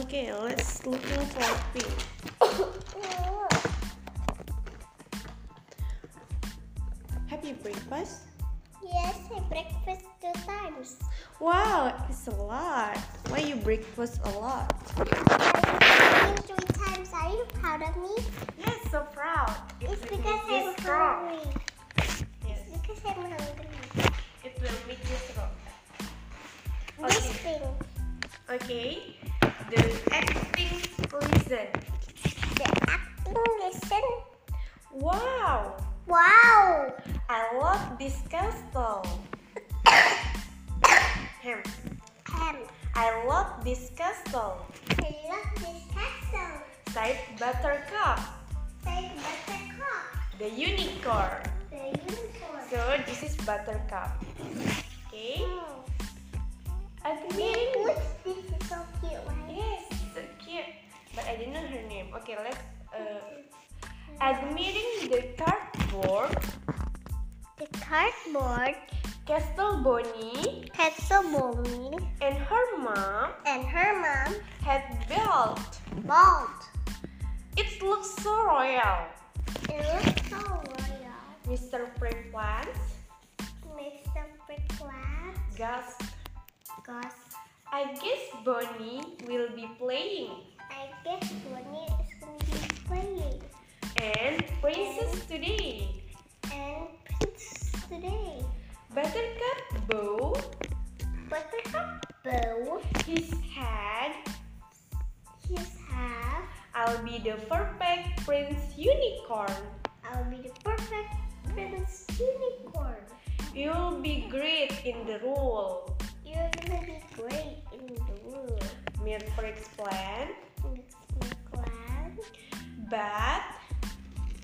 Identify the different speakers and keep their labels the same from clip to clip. Speaker 1: Okay, let's looking for pig. Happy breakfast.
Speaker 2: Yes, I breakfast two times.
Speaker 1: Wow, it's a lot. Why you breakfast a lot?
Speaker 2: I eat three times. Are you proud of me?
Speaker 1: Yes, so proud.
Speaker 2: It's
Speaker 1: It will
Speaker 2: because
Speaker 1: make you
Speaker 2: I'm
Speaker 1: strong.
Speaker 2: hungry.
Speaker 1: Yes,
Speaker 2: It's because I'm hungry.
Speaker 1: it will make you strong.
Speaker 2: This
Speaker 1: Okay.
Speaker 2: thing,
Speaker 1: Okay. The acting listen.
Speaker 2: the acting lesson.
Speaker 1: Wow,
Speaker 2: Wow!
Speaker 1: I love this castle. Him.
Speaker 2: Um,
Speaker 1: I love this castle.
Speaker 2: I love this castle.
Speaker 1: Said Buttercup,
Speaker 2: Say buttercup,
Speaker 1: the unicorn.
Speaker 2: the unicorn.
Speaker 1: So this is Buttercup. Okay.
Speaker 2: Oh,
Speaker 1: I think
Speaker 2: Oops, this is so cute, right?
Speaker 1: yes, so cute. But I didn't know her name. Okay, let's. Uh, admiring the cardboard,
Speaker 2: The cardboard
Speaker 1: Castle Bonnie
Speaker 2: has so mommy
Speaker 1: and her mom
Speaker 2: and her mom
Speaker 1: had built.
Speaker 2: bald.
Speaker 1: It looks so royal.
Speaker 2: It looks so royal.
Speaker 1: Mr. Frame Plants
Speaker 2: Make some brick glass.
Speaker 1: gasped.
Speaker 2: Goss.
Speaker 1: I guess Bonnie will be playing.
Speaker 2: I guess Bonnie is going to be playing.
Speaker 1: And Princess today.
Speaker 2: And Prince today.
Speaker 1: Buttercup Bow,
Speaker 2: Buttercup Bow.
Speaker 1: his head,
Speaker 2: He's half.
Speaker 1: I'll be the perfect Prince Unicorn.
Speaker 2: I'll be the perfect Prince Unicorn.
Speaker 1: You'll be great in the role.
Speaker 2: You're gonna be great in the world.
Speaker 1: Mirfrex plan.
Speaker 2: It's my glad.
Speaker 1: But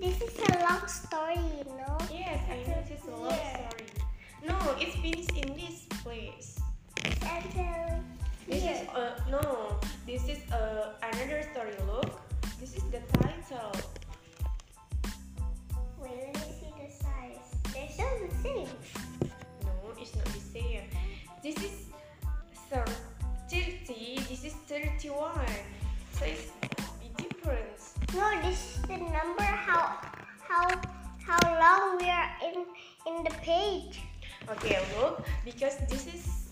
Speaker 2: This is a long story, you know.
Speaker 1: yes, I know this is a love story. No, it's finished in this place.
Speaker 2: And then
Speaker 1: This
Speaker 2: here.
Speaker 1: is uh, no. This is uh, another story. Look, this is the title.
Speaker 2: Wait, let me see the size. They're so the same.
Speaker 1: No, it's not the same. This is thir- thirty. This is thirty-one. So it's different.
Speaker 2: No, this is the number how how how long we are in in the page.
Speaker 1: Okay, look, because this is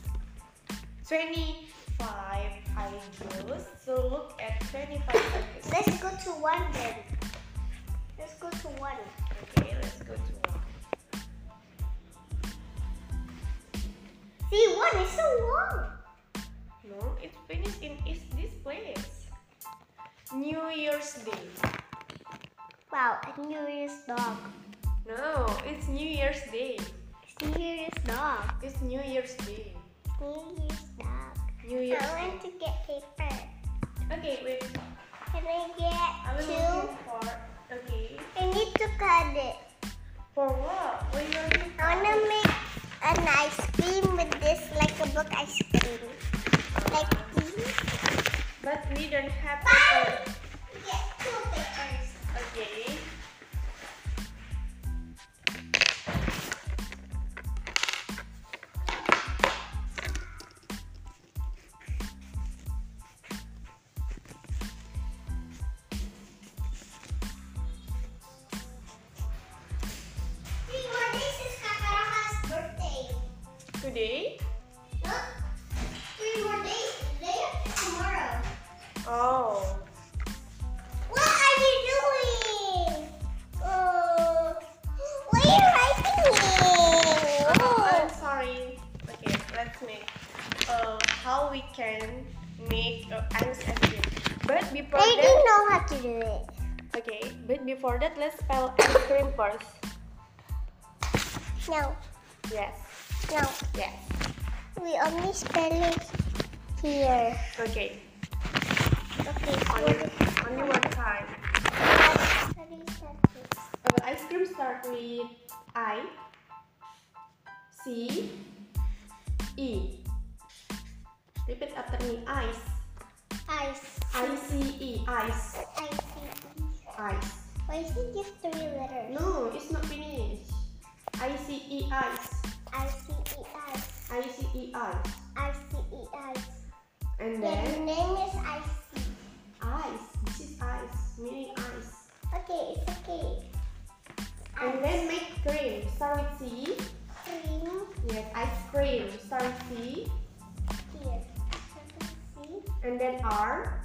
Speaker 1: twenty-five. I guess. So look at twenty-five. August.
Speaker 2: Let's go to one then. Let's go to one.
Speaker 1: Okay, let's go to one.
Speaker 2: See, one is so long.
Speaker 1: No, it's finished in is this place. New Year's Day.
Speaker 2: Wow, a New Year's dog.
Speaker 1: No, it's New Year's Day.
Speaker 2: It's New Year's dog.
Speaker 1: It's New Year's Day.
Speaker 2: New Year's dog.
Speaker 1: New Year's
Speaker 2: I
Speaker 1: Day.
Speaker 2: want to get paper.
Speaker 1: Okay, wait.
Speaker 2: Can I
Speaker 1: I'm
Speaker 2: get two?
Speaker 1: looking for. Okay.
Speaker 2: I need to cut it.
Speaker 1: For what? What you looking for?
Speaker 2: I wanna make an ice cream with this, like a book ice cream. Like this.
Speaker 1: But we don't have
Speaker 2: Bye.
Speaker 1: paper.
Speaker 2: Get two papers.
Speaker 1: Okay.
Speaker 2: See, well, this is Kakaraha's birthday.
Speaker 1: Today?
Speaker 2: Look, three more days. Today or tomorrow.
Speaker 1: Oh.
Speaker 2: What are you doing? Oh, what are you writing?
Speaker 1: I'm
Speaker 2: Oh,
Speaker 1: sorry. Okay, let's make uh, how we can make uh, ice cream. But before
Speaker 2: I didn't
Speaker 1: that,
Speaker 2: know how to do it.
Speaker 1: okay. But before that, let's spell ice cream first.
Speaker 2: No,
Speaker 1: Yes.
Speaker 2: no,
Speaker 1: Yes.
Speaker 2: we only spell it here.
Speaker 1: Okay.
Speaker 2: Okay, so
Speaker 1: Only, only one time.
Speaker 2: that's how do you spell it?
Speaker 1: Uh, ice cream start with I, C, E. Repeat after me. Ice.
Speaker 2: Ice.
Speaker 1: I C E. Ice.
Speaker 2: Ice.
Speaker 1: Ice.
Speaker 2: Why is it just three letters?
Speaker 1: No, it's not finished. I C E. Ice.
Speaker 2: I C E ice.
Speaker 1: I C E. Ice.
Speaker 2: I C E ice.
Speaker 1: And
Speaker 2: Their
Speaker 1: then
Speaker 2: name is Icy.
Speaker 1: mini ice.
Speaker 2: Okay, it's okay.
Speaker 1: And then make cream. Start with C.
Speaker 2: Cream
Speaker 1: Yes, ice cream. Start with C.
Speaker 2: here. C
Speaker 1: And then R.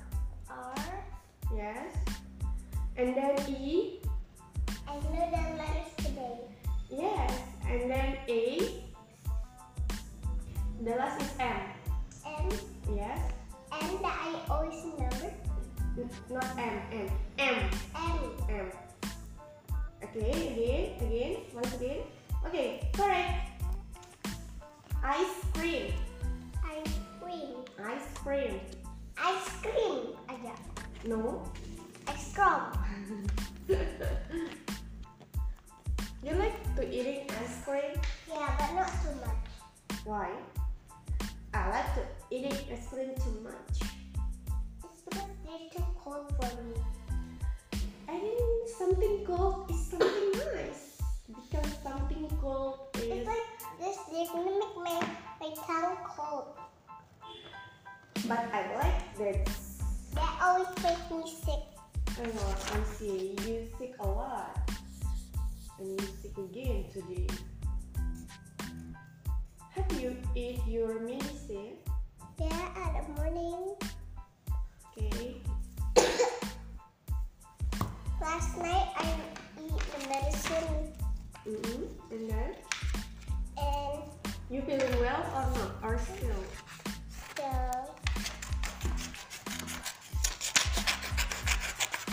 Speaker 2: R.
Speaker 1: Yes. And then E.
Speaker 2: I know the letters today.
Speaker 1: Yes. And then A. The last is M.
Speaker 2: M
Speaker 1: Yes.
Speaker 2: M that I always remember.
Speaker 1: N- Not M. M. M.
Speaker 2: M.
Speaker 1: M. Okay, again, again, once again. Okay, correct. Ice cream.
Speaker 2: Ice cream.
Speaker 1: Ice cream.
Speaker 2: Ice cream. Aja.
Speaker 1: No.
Speaker 2: Ice cream.
Speaker 1: you like to eating ice cream?
Speaker 2: Yeah, but not too much.
Speaker 1: Why? I like to eating ice cream too much.
Speaker 2: It's because they're too cold for me.
Speaker 1: I think something cold is something nice because something cold
Speaker 2: It's
Speaker 1: is.
Speaker 2: like this. They're gonna make my my tongue cold.
Speaker 1: But I like that.
Speaker 2: That always makes me sick.
Speaker 1: Oh, I see. You sick a lot, and you sick again today. Have you eat your medicine?
Speaker 2: Yeah, at the morning.
Speaker 1: Okay.
Speaker 2: Last night I eat the medicine
Speaker 1: Mm-hmm. And then.
Speaker 2: and
Speaker 1: You feeling well or not? Or still?
Speaker 2: the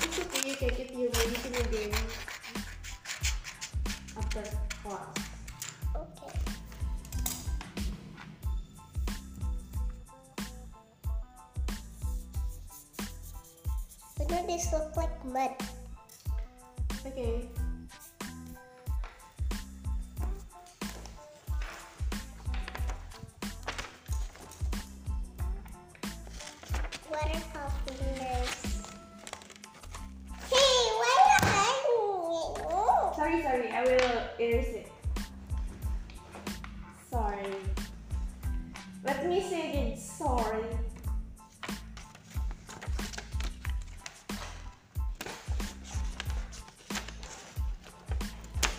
Speaker 1: It's okay, you can get your medicine again after class.
Speaker 2: okay. You know this look like mud.
Speaker 1: Okay.
Speaker 2: Waterfall fingers. Hey, why not hiding it?
Speaker 1: Sorry, sorry, I will erase it. Sorry. Let me say again, sorry.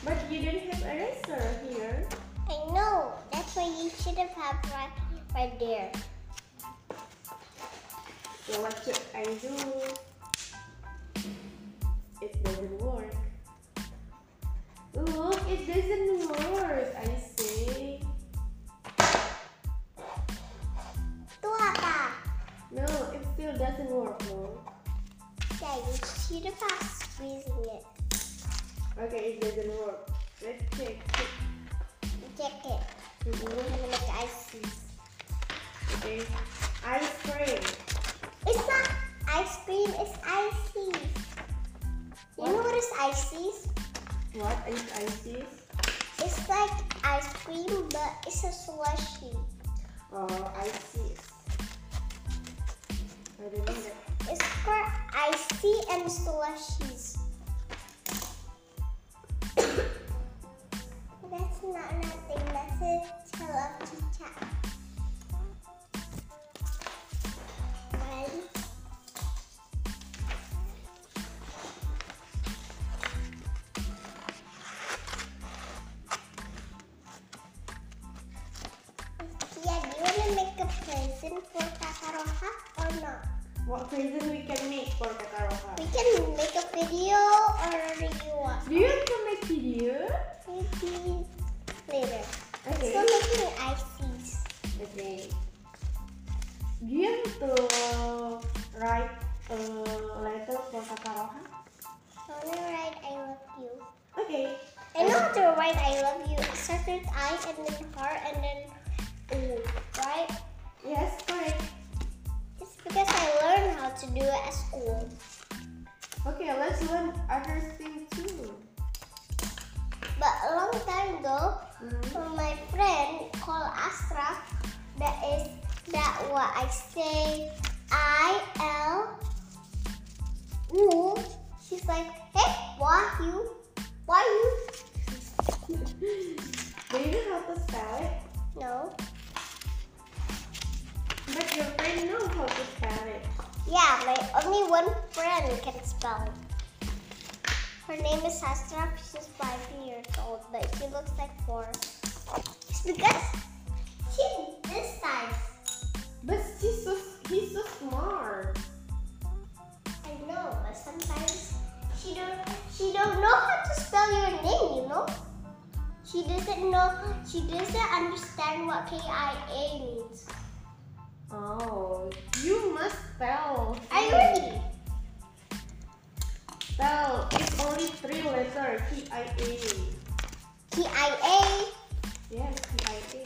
Speaker 1: But you do not have eraser here.
Speaker 2: I know. That's why you should have had right, right there.
Speaker 1: So what should I do? It doesn't work. Look, it doesn't work. I say
Speaker 2: Itu apa?
Speaker 1: no, it still doesn't work. No.
Speaker 2: Yeah, you should have had squeezing it.
Speaker 1: Okay, it doesn't work. Let's check.
Speaker 2: Check it. We're
Speaker 1: Mhm.
Speaker 2: gonna make ice cream.
Speaker 1: Okay, ice cream.
Speaker 2: It's not ice cream, it's icy. You know what is icy?
Speaker 1: What is ices?
Speaker 2: It's like ice cream, but it's a slushy.
Speaker 1: Oh, ices. I don't know. that.
Speaker 2: It's for icy and slushies. That's not nothing, that's a tail of chicha. One. Yeah, do you wanna make a present for Kakaroha or not?
Speaker 1: What present we can make for Kakaroha?
Speaker 2: We can make a video or you want
Speaker 1: Do you want to make video?
Speaker 2: maybe later.
Speaker 1: Okay.
Speaker 2: Still making ices.
Speaker 1: Okay. Do you want to write a letter for Kakaroha?
Speaker 2: I wanna write I love you.
Speaker 1: Okay.
Speaker 2: I know how to write I love you. It starts with I and then heart and then ooh, right?
Speaker 1: Yes, correct.
Speaker 2: It's because I learned how to do it at school.
Speaker 1: Okay, let's learn other things too.
Speaker 2: But a long time ago,
Speaker 1: Mhm.
Speaker 2: my friend called Astra, that is that what I say I L U. She's like, hey, why you? Why you?
Speaker 1: Do you know how to spell it?
Speaker 2: No.
Speaker 1: But your friend knows how to spell it.
Speaker 2: Yeah, my only one friend can spell. Her name is Sastra. She's five years old, but she looks like four. It's because she's this size.
Speaker 1: But he's so he's so smart.
Speaker 2: I know, but sometimes she don't she don't know how to spell your name. You know, she doesn't know. She doesn't understand what K I A means.
Speaker 1: Oh, you must spell.
Speaker 2: Are you ready?
Speaker 1: Spell. It's only three letters. T I A.
Speaker 2: K I A.
Speaker 1: Yes, T I A.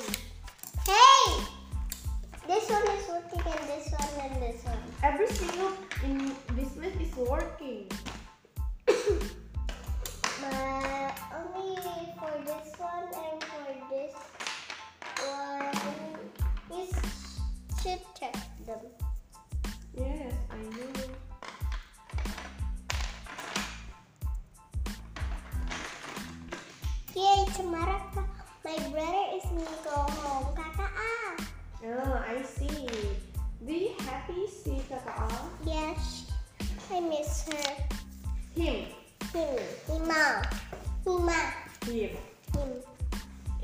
Speaker 2: Hey! This one is working and this one and this one.
Speaker 1: Every single in business is working.
Speaker 2: But only for this one and for this one. You sh- should check them.
Speaker 1: Yes, I know.
Speaker 2: Yay, tomorrow pa- my brother is going to go home. Kaka ah!
Speaker 1: Ah, I see. Do you happy see Kakak? Al?
Speaker 2: Yes, I miss her.
Speaker 1: Him.
Speaker 2: Him. Hima. Hima.
Speaker 1: Him.
Speaker 2: Him.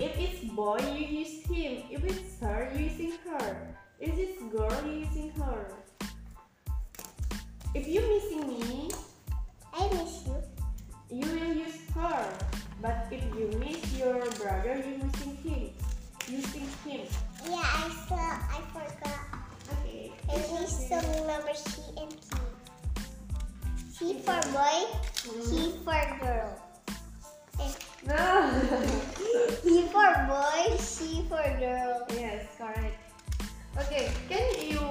Speaker 1: If it's boy, you use him. If it's her, you using her. If it's girl, you using her. If you missing me,
Speaker 2: I miss you.
Speaker 1: you will use her. But if you miss your brother, you using him. Using him.
Speaker 2: Yeah, I still, I forgot.
Speaker 1: Okay.
Speaker 2: And we still remember she and he. She for boy,
Speaker 1: Mm.
Speaker 2: he for girl. And
Speaker 1: No.
Speaker 2: he for boy, she for girl.
Speaker 1: Yes, correct. Okay, can you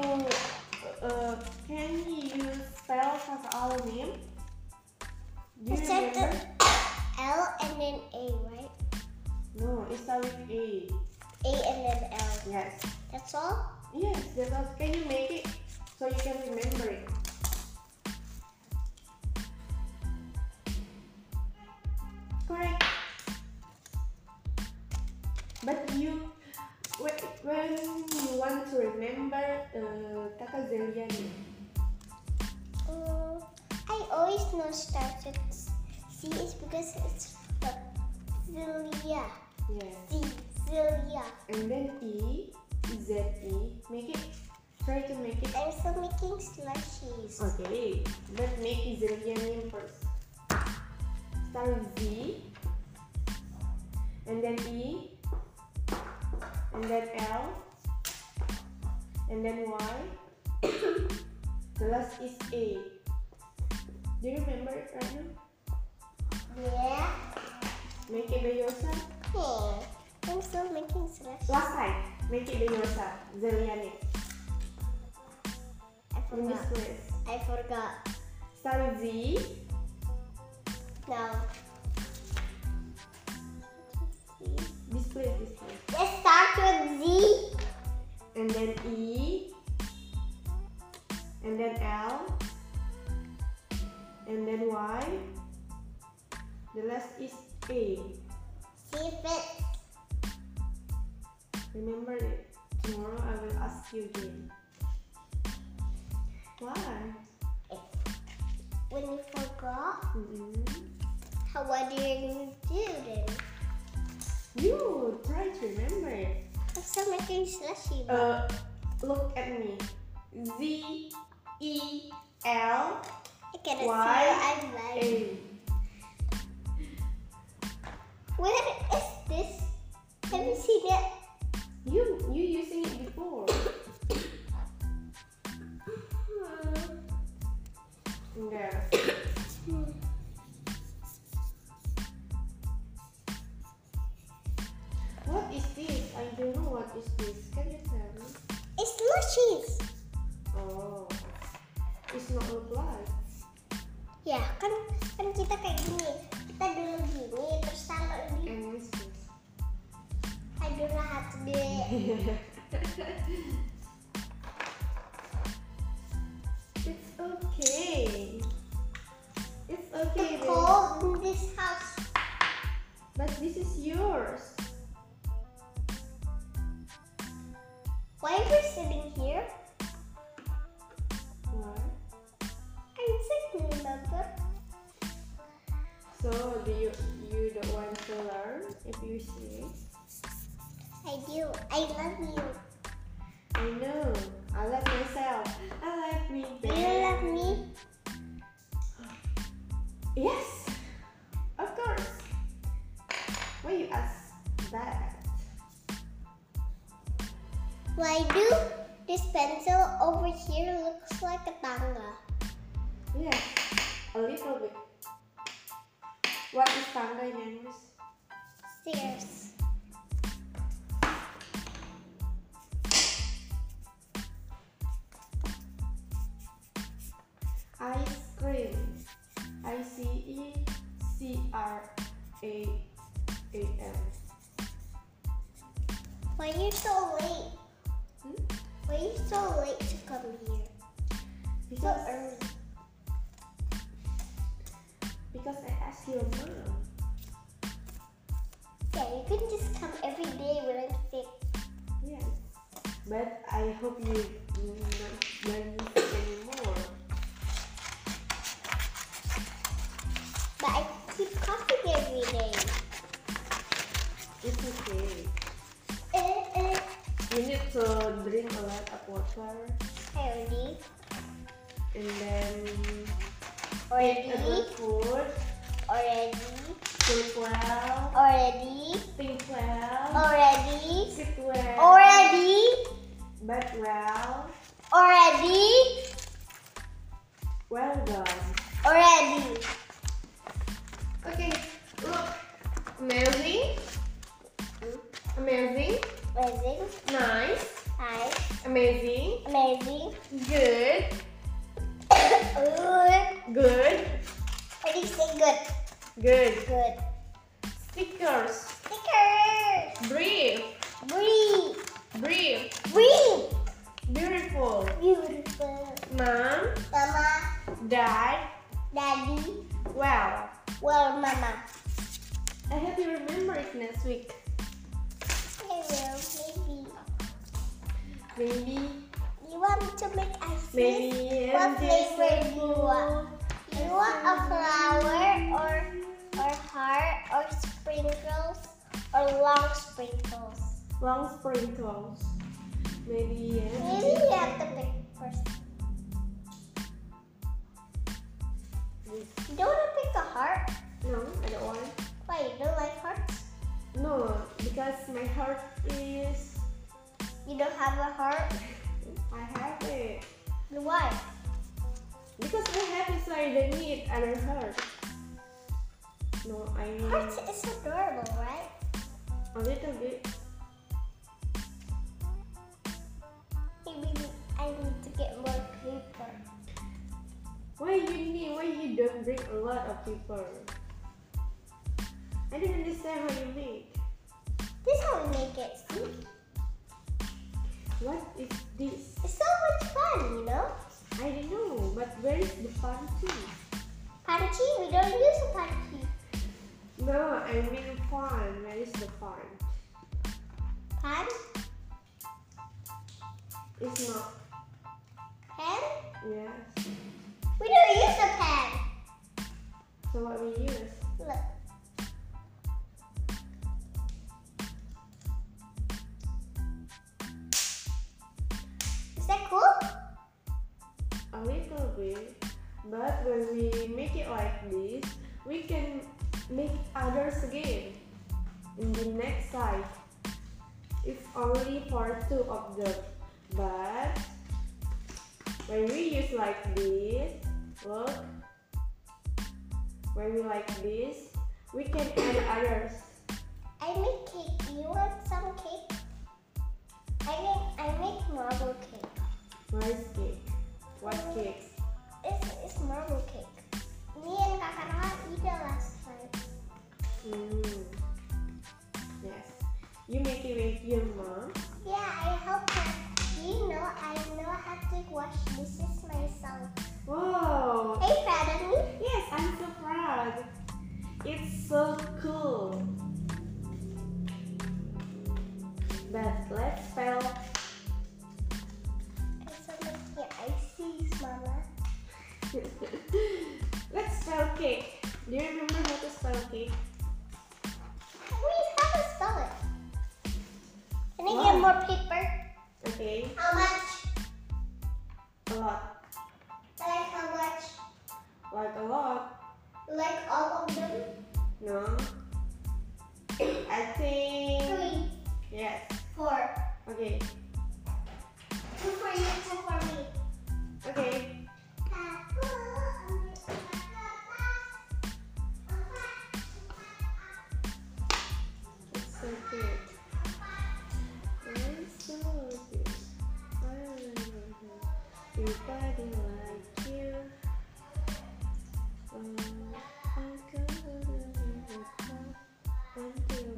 Speaker 1: uh, can you spell our name? Do you
Speaker 2: It's at the
Speaker 1: remember?
Speaker 2: L and then A, right?
Speaker 1: No, it starts with A.
Speaker 2: A and then L.
Speaker 1: Yes.
Speaker 2: That's all?
Speaker 1: Yes, that's all. Can you make it so you can remember it? Correct. But you, when when you want to remember uh, Tata Zelia name?
Speaker 2: Mm, I always know starts with C is because it's the Zilia.
Speaker 1: Yes.
Speaker 2: Z, Zilia.
Speaker 1: and then E, Z E, make it, try to make it.
Speaker 2: I'm still making slushies.
Speaker 1: Oh. Okay, but make E Israeli name first. Start with Z, and then E, and then L, and then Y. the last is A. Do you remember it right now?
Speaker 2: Yeah.
Speaker 1: Make it by yourself.
Speaker 2: Hey, I'm still making slushies.
Speaker 1: Last time, make it by yourself. Zelia name.
Speaker 2: I
Speaker 1: In this
Speaker 2: forgot.
Speaker 1: place.
Speaker 2: I forgot.
Speaker 1: Start with Z.
Speaker 2: No.
Speaker 1: This place, this place.
Speaker 2: It starts with Z.
Speaker 1: and then E, and then L, and then Y. The last is A.
Speaker 2: See if it.
Speaker 1: Remember it. Tomorrow I will ask you again. Why?
Speaker 2: When you forgot,
Speaker 1: Mm-mm.
Speaker 2: how what are you gonna do then?
Speaker 1: You try to remember it.
Speaker 2: I'm still making slushy.
Speaker 1: Uh, look at me. Z E L
Speaker 2: I can see
Speaker 1: why?
Speaker 2: I'm like.
Speaker 1: A.
Speaker 2: Where is this? Have you seen it?
Speaker 1: You you using it before. There. What is this? I don't know what is this. Can you tell me?
Speaker 2: It's slushies.
Speaker 1: Oh, it's not look like.
Speaker 2: Ya kan kan kita kayak gini. Kita dulu gini terus taruh di.
Speaker 1: And what's this?
Speaker 2: I don't know how to do it.
Speaker 1: it's okay. It's okay.
Speaker 2: It's
Speaker 1: baby.
Speaker 2: cold in this house.
Speaker 1: But this is yours.
Speaker 2: Why we're sitting here?
Speaker 1: What?
Speaker 2: I'm sitting I do. I love you.
Speaker 1: I know. I love myself. I like me.
Speaker 2: Do you love me?
Speaker 1: Yes. Of course. Why you ask that?
Speaker 2: Why do this pencil over here looks like a tangga?
Speaker 1: Yeah. A little bit. What is tangga in English?
Speaker 2: Stairs.
Speaker 1: Ice cream. I C E C R A A M.
Speaker 2: Why you so late?
Speaker 1: Hmm?
Speaker 2: Why you so late to come here? So
Speaker 1: Because
Speaker 2: early.
Speaker 1: because I asked your mom.
Speaker 2: Yeah, you can just come every day when I'm sick.
Speaker 1: Yes. But I hope you not learn anymore.
Speaker 2: But I keep coughing every day.
Speaker 1: It's okay.
Speaker 2: Eh, eh.
Speaker 1: You need to drink a lot of water
Speaker 2: Already.
Speaker 1: and then eat a good
Speaker 2: Already.
Speaker 1: food,
Speaker 2: Already.
Speaker 1: sleep well,
Speaker 2: Already.
Speaker 1: think well,
Speaker 2: Already.
Speaker 1: sit well,
Speaker 2: Already.
Speaker 1: but well,
Speaker 2: Already.
Speaker 1: well done.
Speaker 2: Already.
Speaker 1: Okay, look, amazing, amazing,
Speaker 2: Amazing.
Speaker 1: nice,
Speaker 2: Nice.
Speaker 1: amazing,
Speaker 2: Amazing.
Speaker 1: good,
Speaker 2: good.
Speaker 1: good,
Speaker 2: What do you say? Good.
Speaker 1: good.
Speaker 2: Good.
Speaker 1: Stickers,
Speaker 2: Stickers.
Speaker 1: brief,
Speaker 2: Breathe.
Speaker 1: brief,
Speaker 2: Breathe.
Speaker 1: beautiful.
Speaker 2: Beautiful.
Speaker 1: Mom,
Speaker 2: Mama.
Speaker 1: dad,
Speaker 2: Daddy.
Speaker 1: well.
Speaker 2: Well, Mama.
Speaker 1: I hope you remember it next week.
Speaker 2: Hello, baby.
Speaker 1: Maybe,
Speaker 2: You want to make ice cream?
Speaker 1: maybe.
Speaker 2: What flavor do you want? You want a flower or or heart or sprinkles or long sprinkles?
Speaker 1: Long sprinkles. Maybe. Yeah.
Speaker 2: Maybe you have to pick first. You don't want to pick a heart?
Speaker 1: No, I don't want.
Speaker 2: Why you don't like hearts?
Speaker 1: No, because my heart is.
Speaker 2: You don't have a heart?
Speaker 1: I have it.
Speaker 2: Why?
Speaker 1: Because I have it, so I don't need other heart. No, I
Speaker 2: Hearts is adorable, right?
Speaker 1: a little bit.
Speaker 2: Maybe I need to get more paper.
Speaker 1: Why you need? Why you don't bring a lot of people? I don't understand how you make.
Speaker 2: This is how we make it. See?
Speaker 1: What is this?
Speaker 2: It's so much fun, you know?
Speaker 1: I don't know, but where is the party?
Speaker 2: Pancake? We don't use a pancake.
Speaker 1: No, I mean fun. Where is the fun?
Speaker 2: Pan?
Speaker 1: It's not.
Speaker 2: Pan?
Speaker 1: Yes.
Speaker 2: We don't use a pan.
Speaker 1: So what we use?
Speaker 2: Look. Is that cool?
Speaker 1: A little bit. But when we make it like this, we can make others again in the next slide. It's only part two of the but when we use like this, look when we like this, we can add others.
Speaker 2: I make cake. You want some cake? I make I make marble cake.
Speaker 1: Rice cake. What cakes?
Speaker 2: It's it's marble cake. Me and Kakak Noah eat it last night.
Speaker 1: Mm. Yes. You make it with your mom.
Speaker 2: Yeah, I help her. Do you know I know how to wash dishes myself?
Speaker 1: Wow.
Speaker 2: Hey, proud of me?
Speaker 1: Yes, I'm so proud. It's so cool. But let's spell.
Speaker 2: It's so much here. I see, Mama.
Speaker 1: let's spell cake. Do you remember how to spell cake?
Speaker 2: Wait, how to spell it? more paper?
Speaker 1: Okay,
Speaker 2: How much?
Speaker 1: a lot.
Speaker 2: Like how much?
Speaker 1: Like a lot.
Speaker 2: Like all of them?
Speaker 1: No. I think.
Speaker 2: Three,
Speaker 1: Yes.
Speaker 2: four.
Speaker 1: Okay.
Speaker 2: Two for you, two for me.
Speaker 1: Okay. It's so cute. It's so cute. I love everybody like you. Oh, I'm gonna live until lifetime. I'm pretty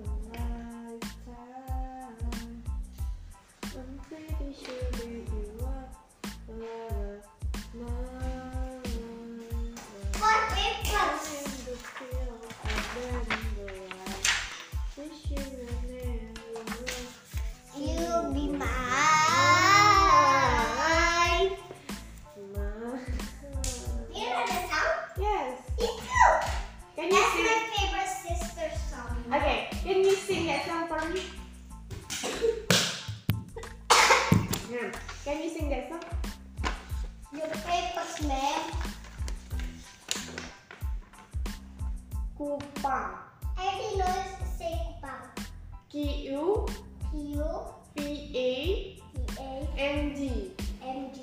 Speaker 1: sure that you are a lot of mine.
Speaker 2: Four papers. You be mine. You know the song?
Speaker 1: Yes.
Speaker 2: Me too.
Speaker 1: Can you
Speaker 2: That's my
Speaker 1: sing?
Speaker 2: favorite sister song.
Speaker 1: Okay. Can you sing that song for me? Yeah. Can you sing that song?
Speaker 2: Your papers, ma'am.
Speaker 1: Kupang.
Speaker 2: I didn't know it's say kupang.
Speaker 1: K U
Speaker 2: P U
Speaker 1: P A
Speaker 2: P A
Speaker 1: N G.
Speaker 2: M G.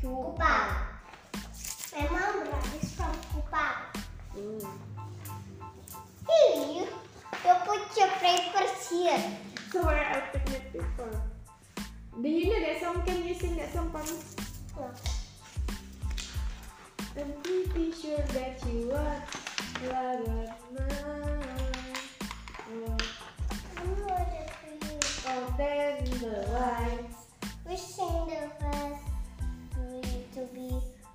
Speaker 1: Kupang.
Speaker 2: Kupang. My mom brought this from Kupang.
Speaker 1: Mm.
Speaker 2: Hey, you, you put your papers here.
Speaker 1: So where I put my paper? Do you know that song? Can you sing that song for me?
Speaker 2: No.
Speaker 1: I'm pretty sure that you are love of mine.
Speaker 2: I'm order for you.
Speaker 1: Oh, then the lights
Speaker 2: Wishing the first for you to be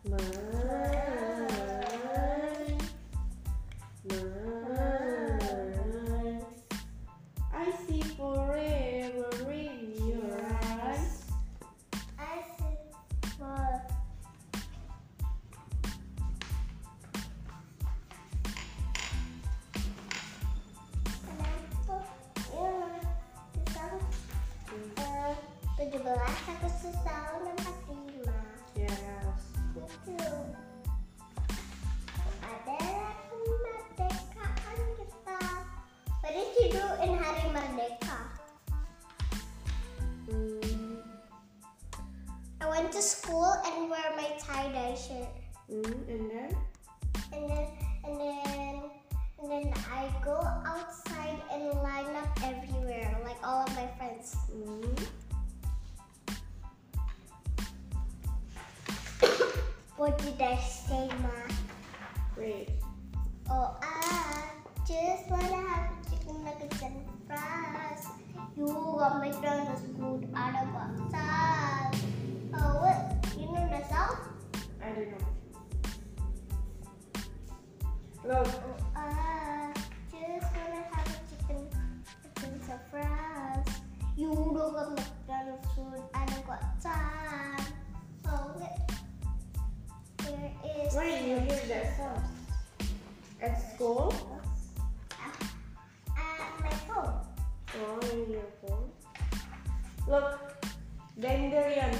Speaker 1: mine, mine. I see forever in your eyes.
Speaker 2: I sit for Uh, tujuh belas aku setahun empat lima
Speaker 1: Yes.
Speaker 2: itu adalah kemerdekaan kita. What did you do in Hari Merdeka?
Speaker 1: Mm.
Speaker 2: I went to school and wear my tie dye shirt.
Speaker 1: Mm, and then?
Speaker 2: And then and then and then I go outside and line up everywhere like all of my friends.
Speaker 1: Mm.
Speaker 2: What did I say, Ma?
Speaker 1: Wait.
Speaker 2: Oh I just wanna have a chicken nuggets and fries. You got McDonald's food out of outside. Oh what? You know the song?
Speaker 1: I don't know. Look.
Speaker 2: Oh, I just wanna have a chicken, chicken surprise. You don't got McDonald's food, I don't got time. Oh, wait. Where is
Speaker 1: Where did you
Speaker 2: the-
Speaker 1: hear that song? At school?
Speaker 2: Ah, my phone.
Speaker 1: Oh, in your phone. Look. Dandelion.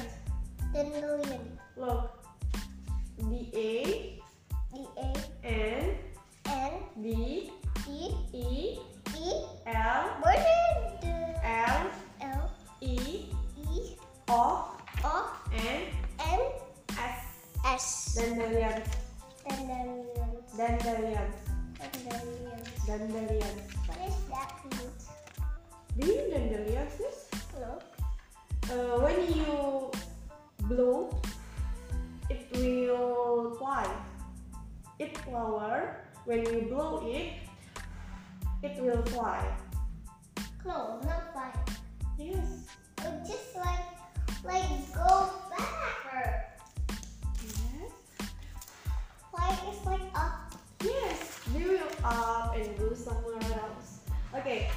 Speaker 2: Dandelion.
Speaker 1: Look. D
Speaker 2: D A
Speaker 1: A N
Speaker 2: N
Speaker 1: D
Speaker 2: D
Speaker 1: E
Speaker 2: E.
Speaker 1: L
Speaker 2: Where did the
Speaker 1: L
Speaker 2: L
Speaker 1: E
Speaker 2: E
Speaker 1: O
Speaker 2: O
Speaker 1: N
Speaker 2: N
Speaker 1: S.
Speaker 2: S?
Speaker 1: Dandelion.
Speaker 2: Dandelion.
Speaker 1: Dandelion.
Speaker 2: Dandelion.
Speaker 1: Dandelion.
Speaker 2: What is that mean?
Speaker 1: Do you know dandelion? sis?
Speaker 2: No.
Speaker 1: Uh, when you blow, it will fly. It flower. When you blow it, it will fly.
Speaker 2: No, not fine.
Speaker 1: Yes.
Speaker 2: Oh, just like, like go backward.
Speaker 1: Yes.
Speaker 2: Why it's like up?
Speaker 1: Yes. They will up and go somewhere else. Okay.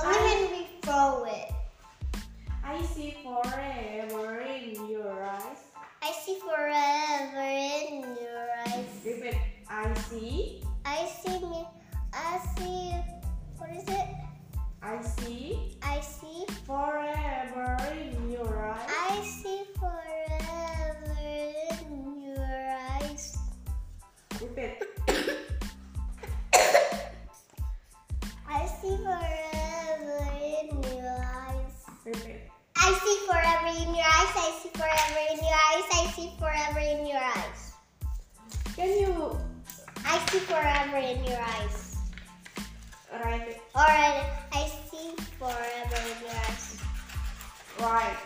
Speaker 2: Only when we throw it.
Speaker 1: I see forever in your eyes.
Speaker 2: I see forever in your eyes.
Speaker 1: Repeat. I see.
Speaker 2: I see me. I see. What is it?
Speaker 1: I see
Speaker 2: I see
Speaker 1: forever
Speaker 2: see forever in your eyes.
Speaker 1: Repeat.
Speaker 2: I see forever in your eyes. I see forever in your eyes. I see forever in your eyes.
Speaker 1: Can you
Speaker 2: I see forever in your eyes.
Speaker 1: write it
Speaker 2: Or I I see forever in your eyes.
Speaker 1: right?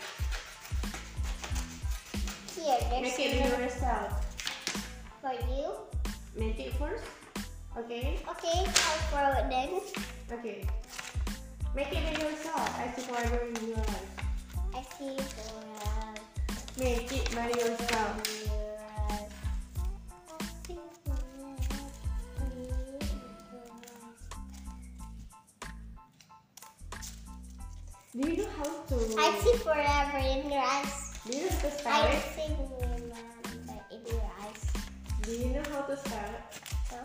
Speaker 2: Here, there's
Speaker 1: Make it
Speaker 2: another
Speaker 1: yourself.
Speaker 2: for you.
Speaker 1: Make it first. Okay.
Speaker 2: Okay, I'll throw it then.
Speaker 1: Okay. Make it yourself. I see forever in your eyes.
Speaker 2: I see forever
Speaker 1: Make it by yourself.
Speaker 2: in your eyes. I see forever in your eyes.
Speaker 1: Do you know how to?
Speaker 2: I see forever in your eyes.
Speaker 1: Do you know how to spell
Speaker 2: I
Speaker 1: it?
Speaker 2: see remember in your eyes.
Speaker 1: Do you know how to spell it?
Speaker 2: No?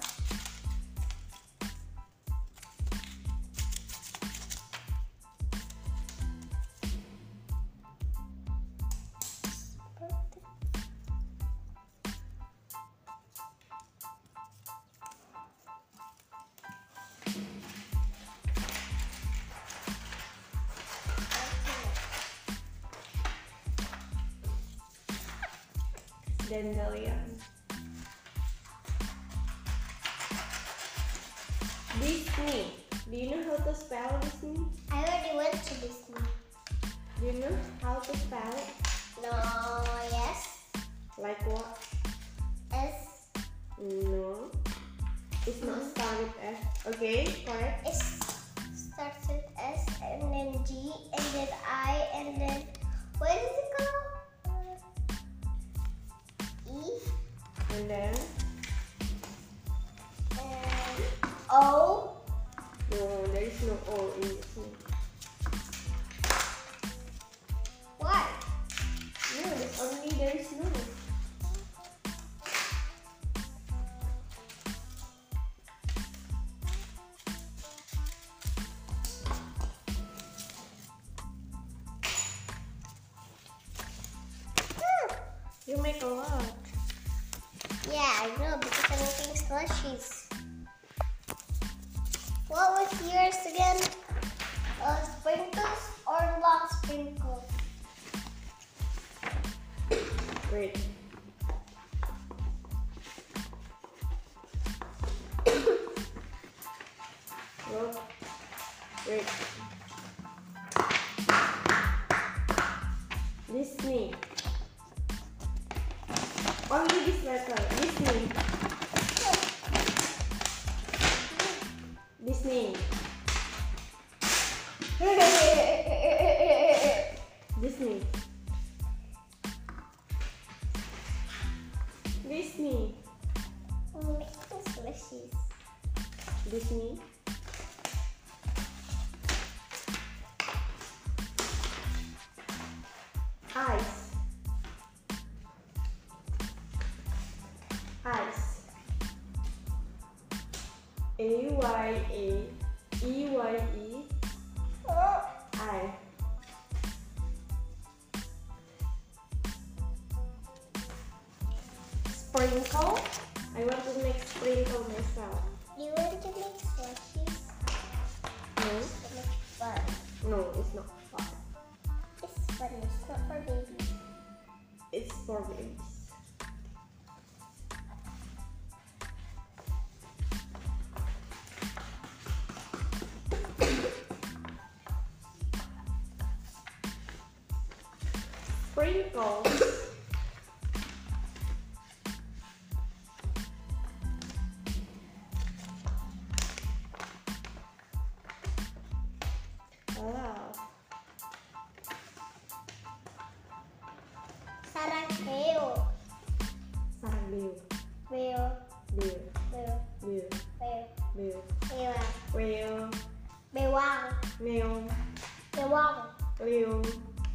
Speaker 1: Dandelion. Disney. Do you know how to spell Disney?
Speaker 2: I already went to Disney.
Speaker 1: Do you know how to spell it?
Speaker 2: No, yes.
Speaker 1: Like what?
Speaker 2: S
Speaker 1: No. It's not spelled with S. Okay, correct.
Speaker 2: it starts with S and then G and then I and then where does it go? E
Speaker 1: And then
Speaker 2: and O
Speaker 1: no, there is no O in Disney.
Speaker 2: Y.
Speaker 1: No, only there is no.
Speaker 2: Hmm.
Speaker 1: You make a lot.
Speaker 2: Yeah, I know because I'm making slushies. What was yours again? Uh, sprinkles or not sprinkles?
Speaker 1: Wait. Look. Wait. Disney. Only this letter. Disney. Disney. Disney. Disney.
Speaker 2: I'm making slushies.
Speaker 1: Disney. Ice. Ice. A Y A E Y E
Speaker 2: Oh.
Speaker 1: I. Sprinkle. I want to make sprinkle myself.
Speaker 2: You want to make slushies?
Speaker 1: No,
Speaker 2: It looks fun.
Speaker 1: no, it's not fun.
Speaker 2: It's fun. It's not for babies.
Speaker 1: It's for babies. Sprinkle. Wow.
Speaker 2: Sarang keo.
Speaker 1: Sarang biru,
Speaker 2: Keo.
Speaker 1: biru,
Speaker 2: Keo.
Speaker 1: biru,
Speaker 2: Keo.
Speaker 1: biru.
Speaker 2: Keo.
Speaker 1: Real,
Speaker 2: Bewang.
Speaker 1: meal,
Speaker 2: Bewang.
Speaker 1: real,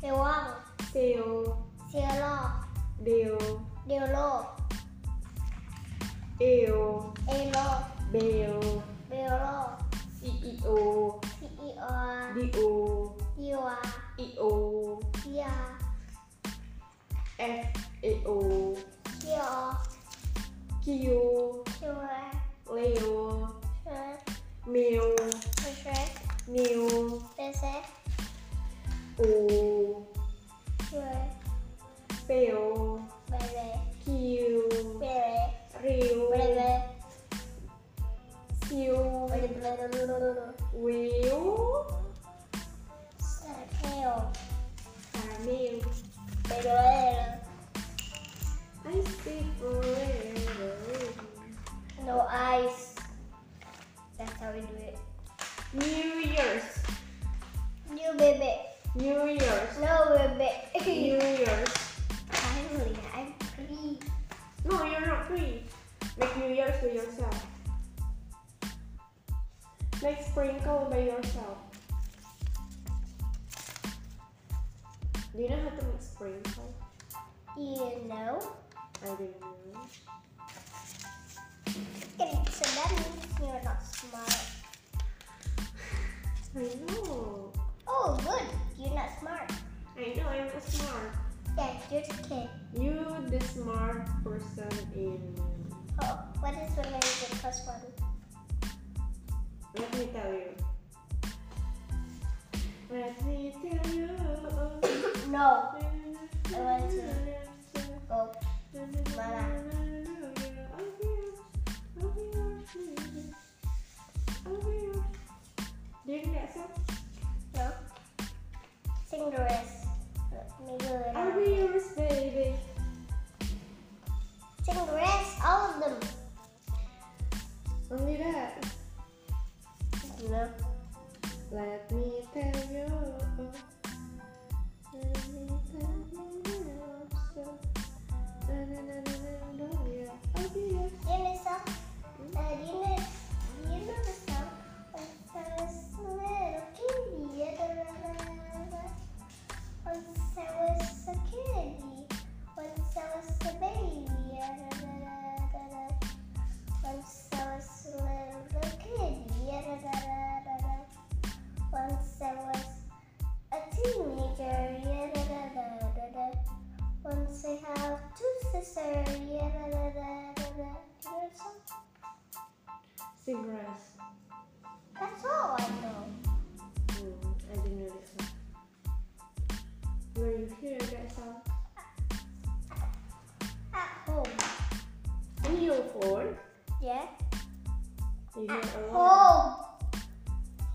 Speaker 2: Bewang.
Speaker 1: seal,
Speaker 2: Siolo.
Speaker 1: deal,
Speaker 2: Diolo.
Speaker 1: ill,
Speaker 2: Elo.
Speaker 1: bail,
Speaker 2: Beolo.
Speaker 1: E CEO,
Speaker 2: CEO.
Speaker 1: E DO,
Speaker 2: Diwa.
Speaker 1: E EO,
Speaker 2: Dia.
Speaker 1: E FAO,
Speaker 2: Kio.
Speaker 1: Kyo,
Speaker 2: Sure.
Speaker 1: Leo,
Speaker 2: Sure.
Speaker 1: meal,
Speaker 2: Sure.
Speaker 1: New
Speaker 2: This is
Speaker 1: O
Speaker 2: where
Speaker 1: Peo
Speaker 2: where
Speaker 1: Q E
Speaker 2: where
Speaker 1: Rio
Speaker 2: where
Speaker 1: Siu
Speaker 2: where
Speaker 1: Will
Speaker 2: Sarapeo.
Speaker 1: Caramel
Speaker 2: Pero
Speaker 1: I see forever
Speaker 2: no eyes. That's how we do it.
Speaker 1: New Year's
Speaker 2: New baby.
Speaker 1: New Year's
Speaker 2: No baby.
Speaker 1: New Year's
Speaker 2: Finally, I'm free.
Speaker 1: No, you're not free. Make New Year's to yourself. Make sprinkle by yourself. Do you know how to make sprinkle?
Speaker 2: You know.
Speaker 1: I don't know.
Speaker 2: Okay, so that means you're not smart.
Speaker 1: I know.
Speaker 2: Oh, good. You're not smart.
Speaker 1: I know I'm not smart.
Speaker 2: Yeah, you're the kid.
Speaker 1: You the smart person in
Speaker 2: Oh, what is the major plus one?
Speaker 1: let me tell you. Let me tell you.
Speaker 2: No. Oh, I want Go.
Speaker 1: Doing that song?
Speaker 2: No. Sing the rest. Maybe a little.
Speaker 1: I'll be yours, baby.
Speaker 2: Sing the rest. All of them.
Speaker 1: Only that.
Speaker 2: No.
Speaker 1: Let me tell you. Let me tell you. so- Na, na, na, na, na, na, yeah. I'll be yours.
Speaker 2: Do you know the song? Uh, do you know? Do you know the song? Once I was a little kitty. da, da, da, da, da. Once I was a kitty. Once I was a baby. da, da, da, da, da, da. Once I was a little kitty. da, da, da, da, da, da. Once I was a teenager. da, da, da, da, da, da. Once I have two sisters. Yeah, da, da, da, da, da. Do you know the song?
Speaker 1: Cigarettes.
Speaker 2: That's all I know.
Speaker 1: Mm, I didn't know that song. Were you here that song?
Speaker 2: At home.
Speaker 1: In your phone?
Speaker 2: Yeah?
Speaker 1: You
Speaker 2: At
Speaker 1: hear a lot.
Speaker 2: home.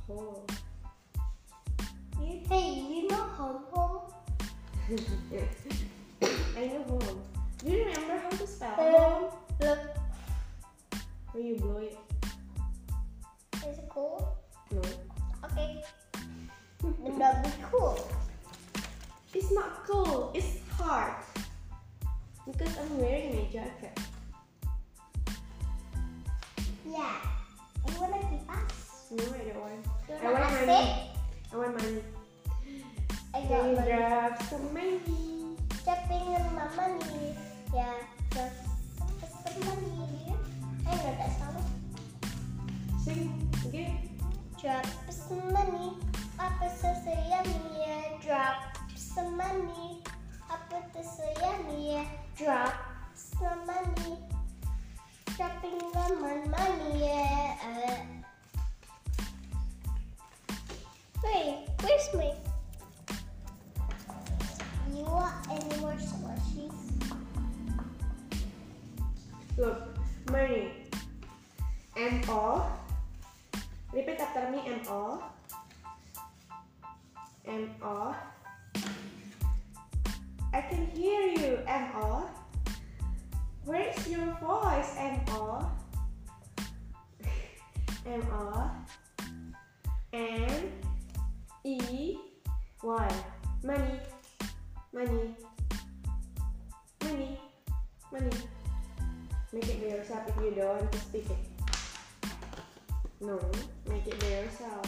Speaker 1: Oh.
Speaker 2: You, hey, you know home, home?
Speaker 1: I know home. Do you remember how to spell home?
Speaker 2: Home. Look,
Speaker 1: Or you blow it?
Speaker 2: is it cool?
Speaker 1: No.
Speaker 2: Okay. then that'd be cool.
Speaker 1: It's not cool, it's hard. Because I'm wearing my jacket.
Speaker 2: Yeah. You wanna keep us?
Speaker 1: No, I don't want.
Speaker 2: You wanna
Speaker 1: I want
Speaker 2: ask
Speaker 1: money.
Speaker 2: it?
Speaker 1: I want money.
Speaker 2: I
Speaker 1: Can
Speaker 2: got
Speaker 1: you
Speaker 2: money.
Speaker 1: grab some money?
Speaker 2: Shopping and my money. Yeah, just some money. I know that song.
Speaker 1: Sing again.
Speaker 2: Drop some money, Papa says so yummy, yeah. Drop some money, Papa says so yummy, yeah. Drop some money, dropping the mon- money, yeah. Uh, wait, where's my? You want any more slushies?
Speaker 1: Look, money. M O. Repeat after me. M O. M O. I can hear you. M O. Where is your voice? M O. M O. M E Y. Money. Money. Money. Money. Make it by yourself if you don't want to speak it. No, make it by yourself.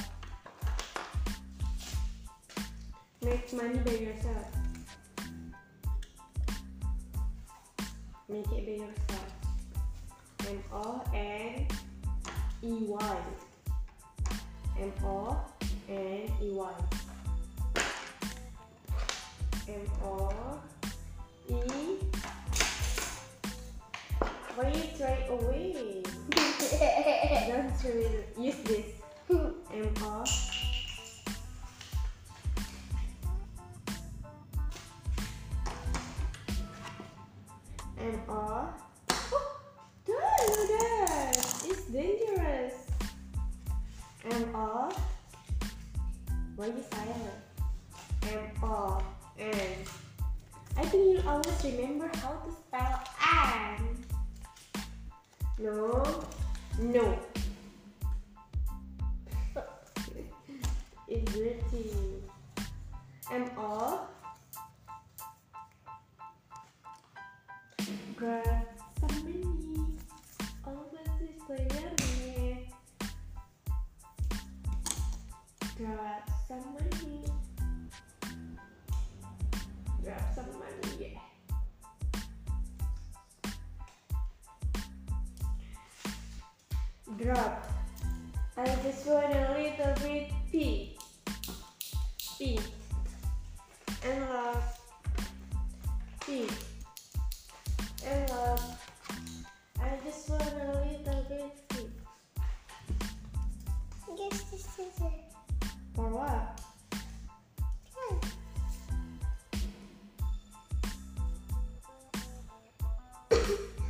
Speaker 1: Make money by yourself. Make it by yourself. M O N E Y. M O N E Y. M O E. Why you throw it away? Don't throw it. Use this. M O Oh, Why you silent? Ample. And. I think you always remember how to spell and. No. No. it's dirty. M O. Grab somebody. Always is playing. Grab some money. Grab some money, yeah. Drop. I just want a little bit pee. Pee. And love. Pee. And love. I just want a little bit pee.
Speaker 2: I guess this is it.
Speaker 1: For what?
Speaker 2: Hmm.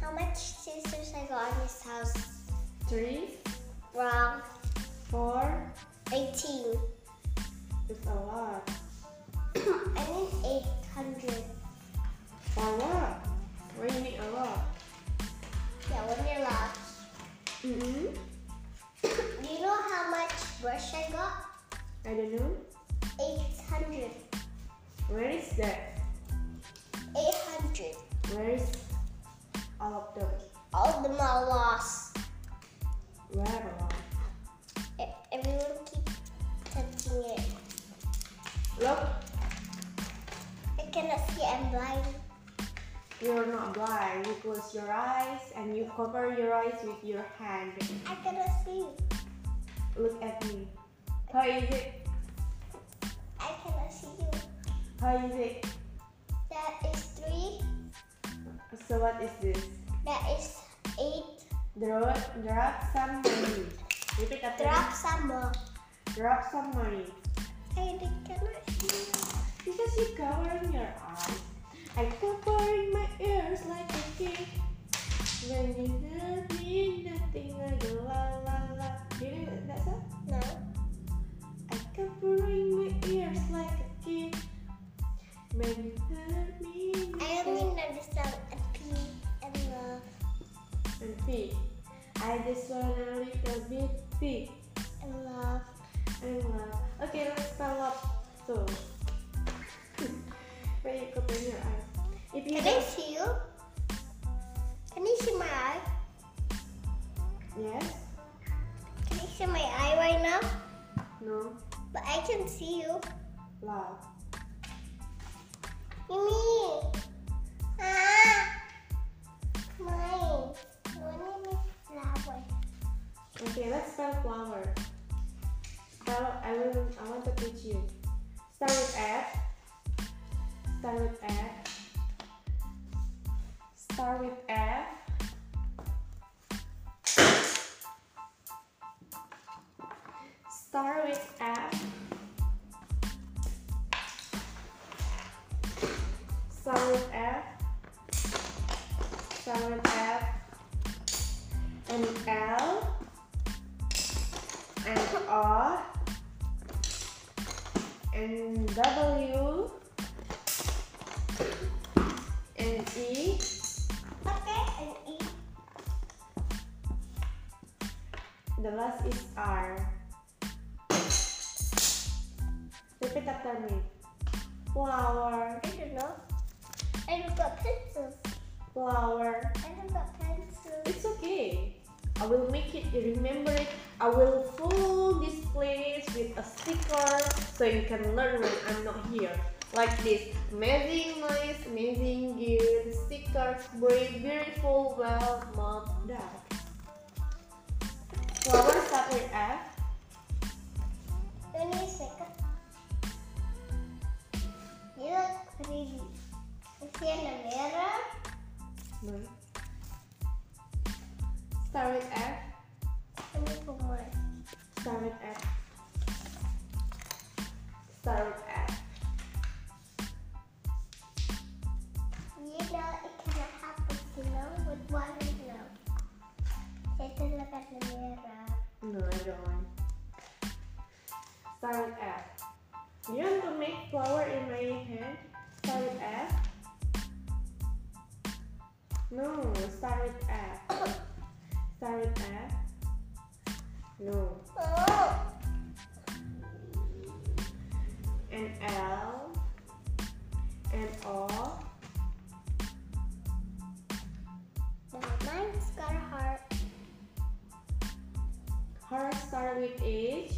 Speaker 2: How much scissors I got in this house?
Speaker 1: Three,
Speaker 2: Wrong.
Speaker 1: four,
Speaker 2: 18.
Speaker 1: it's a lot.
Speaker 2: I need 800.
Speaker 1: For what? Why you need a lot?
Speaker 2: Yeah, when you're lost.
Speaker 1: Mm-hmm.
Speaker 2: Do you know how much brush I got?
Speaker 1: I don't know.
Speaker 2: 800.
Speaker 1: Where is that?
Speaker 2: 800.
Speaker 1: Where is all of those?
Speaker 2: All of them are lost.
Speaker 1: Where are all?
Speaker 2: E- Everyone keep touching it.
Speaker 1: Look,
Speaker 2: I cannot see. I'm blind.
Speaker 1: you're not blind. You close your eyes and you cover your eyes with your hand.
Speaker 2: I cannot see.
Speaker 1: Look at me. How is it?
Speaker 2: I cannot see you.
Speaker 1: How is it?
Speaker 2: That is three.
Speaker 1: So what is this?
Speaker 2: That is eight.
Speaker 1: Draw, drop some money. Repeat after
Speaker 2: Drop
Speaker 1: me.
Speaker 2: some more.
Speaker 1: Drop some money.
Speaker 2: I cannot see.
Speaker 1: Because you're covering your eyes. I'm covering my ears like a kid. When you hear me, nothing I go la la la. Do you know that song?
Speaker 2: No.
Speaker 1: I'm covering my ears like a kid. When you hear me,
Speaker 2: I
Speaker 1: nothing-
Speaker 2: only understand a P and love
Speaker 1: and pee. I just want a little bit pee
Speaker 2: and love.
Speaker 1: and love. Okay, let's spell up. So, when you open your eyes, if you
Speaker 2: Can I see you? Can you see my eye?
Speaker 1: don't- yes,
Speaker 2: Can you see my eye right now?
Speaker 1: no,
Speaker 2: But I can see you.
Speaker 1: love.
Speaker 2: Mimi. Ah. Mine. When you make flower.
Speaker 1: Okay, let's spell flower. Spell, I will, I want to teach you. Start with F. Start with F. Start with F. Start with F. Start with F. Start with F. And L and R and W and E
Speaker 2: Okay. And E.
Speaker 1: the last is R repeat after me flower
Speaker 2: I don't know. I don't got pencils.
Speaker 1: flower
Speaker 2: I don't got pencils.
Speaker 1: it's okay I will make it you remember it I will fill this place with a sticker so you can learn when I'm not here like this amazing nice amazing good stickers brave beautiful well not dark flower start with F
Speaker 2: When you make up. You look pretty. You see in the mirror?
Speaker 1: no. start with F
Speaker 2: Let me put more.
Speaker 1: Start with F. Start with F.
Speaker 2: You know it cannot happen, you know, with one you know. Take a look at the mirror.
Speaker 1: No, I don't. Start with F. You want to make flower in my hand? Start with F. No, start with F.
Speaker 2: Oh,
Speaker 1: Start with F. No.
Speaker 2: Oh.
Speaker 1: And L. And O.
Speaker 2: Never mind, it's got a heart.
Speaker 1: Heart start with H.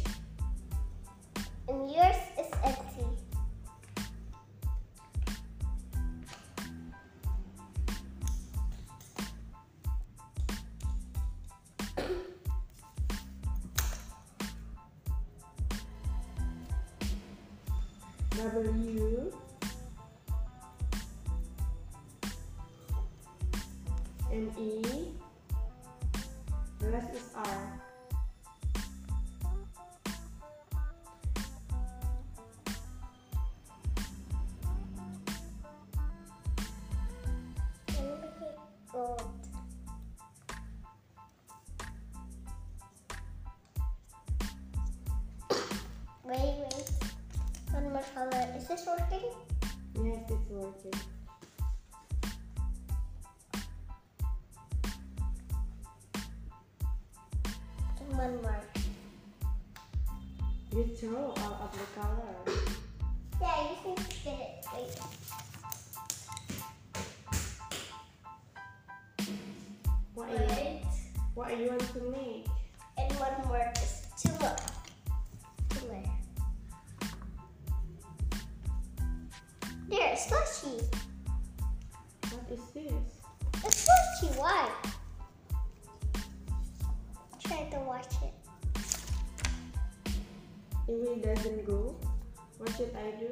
Speaker 2: And yours is empty.
Speaker 1: W. And E. The rest is R.
Speaker 2: Can you make it gold? Wait, wait. One more color. Is this working?
Speaker 1: Yes, it's working.
Speaker 2: And one more.
Speaker 1: You throw all of the color.
Speaker 2: Yeah, you can get it. Wait.
Speaker 1: What are you,
Speaker 2: Wait.
Speaker 1: what you want to make?
Speaker 2: And one more is two more. Two more. There, slushy.
Speaker 1: What is this?
Speaker 2: It's slushy. Why? Try to watch it.
Speaker 1: If it doesn't go, what should I do?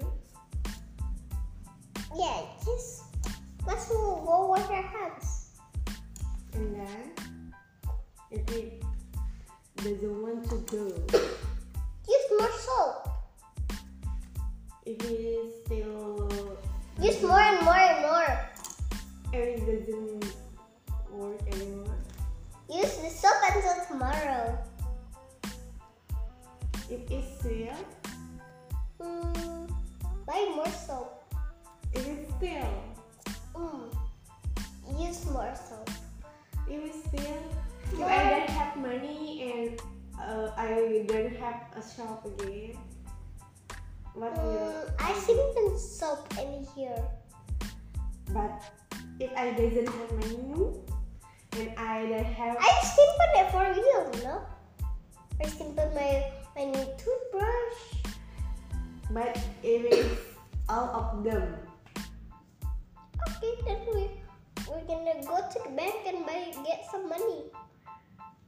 Speaker 2: Yeah, just let's move go with our hands.
Speaker 1: And then, if it doesn't want to go,
Speaker 2: Use more soap.
Speaker 1: if it is still
Speaker 2: Use more and more and more.
Speaker 1: and it doesn't work anymore,
Speaker 2: Use the soap until tomorrow.
Speaker 1: if it's still,
Speaker 2: Mm, buy more soap.
Speaker 1: if it's still,
Speaker 2: Mm, use more soap.
Speaker 1: if it's still, if I don't have money and uh, I don't have a shop again, what will?
Speaker 2: Mm, I see some soap in here.
Speaker 1: But if I doesn't have money and I don't have
Speaker 2: I steampan it for you, no? I steampan my my new toothbrush.
Speaker 1: but if it's all of them.
Speaker 2: Okay, then we we're gonna go to the bank and buy get some money.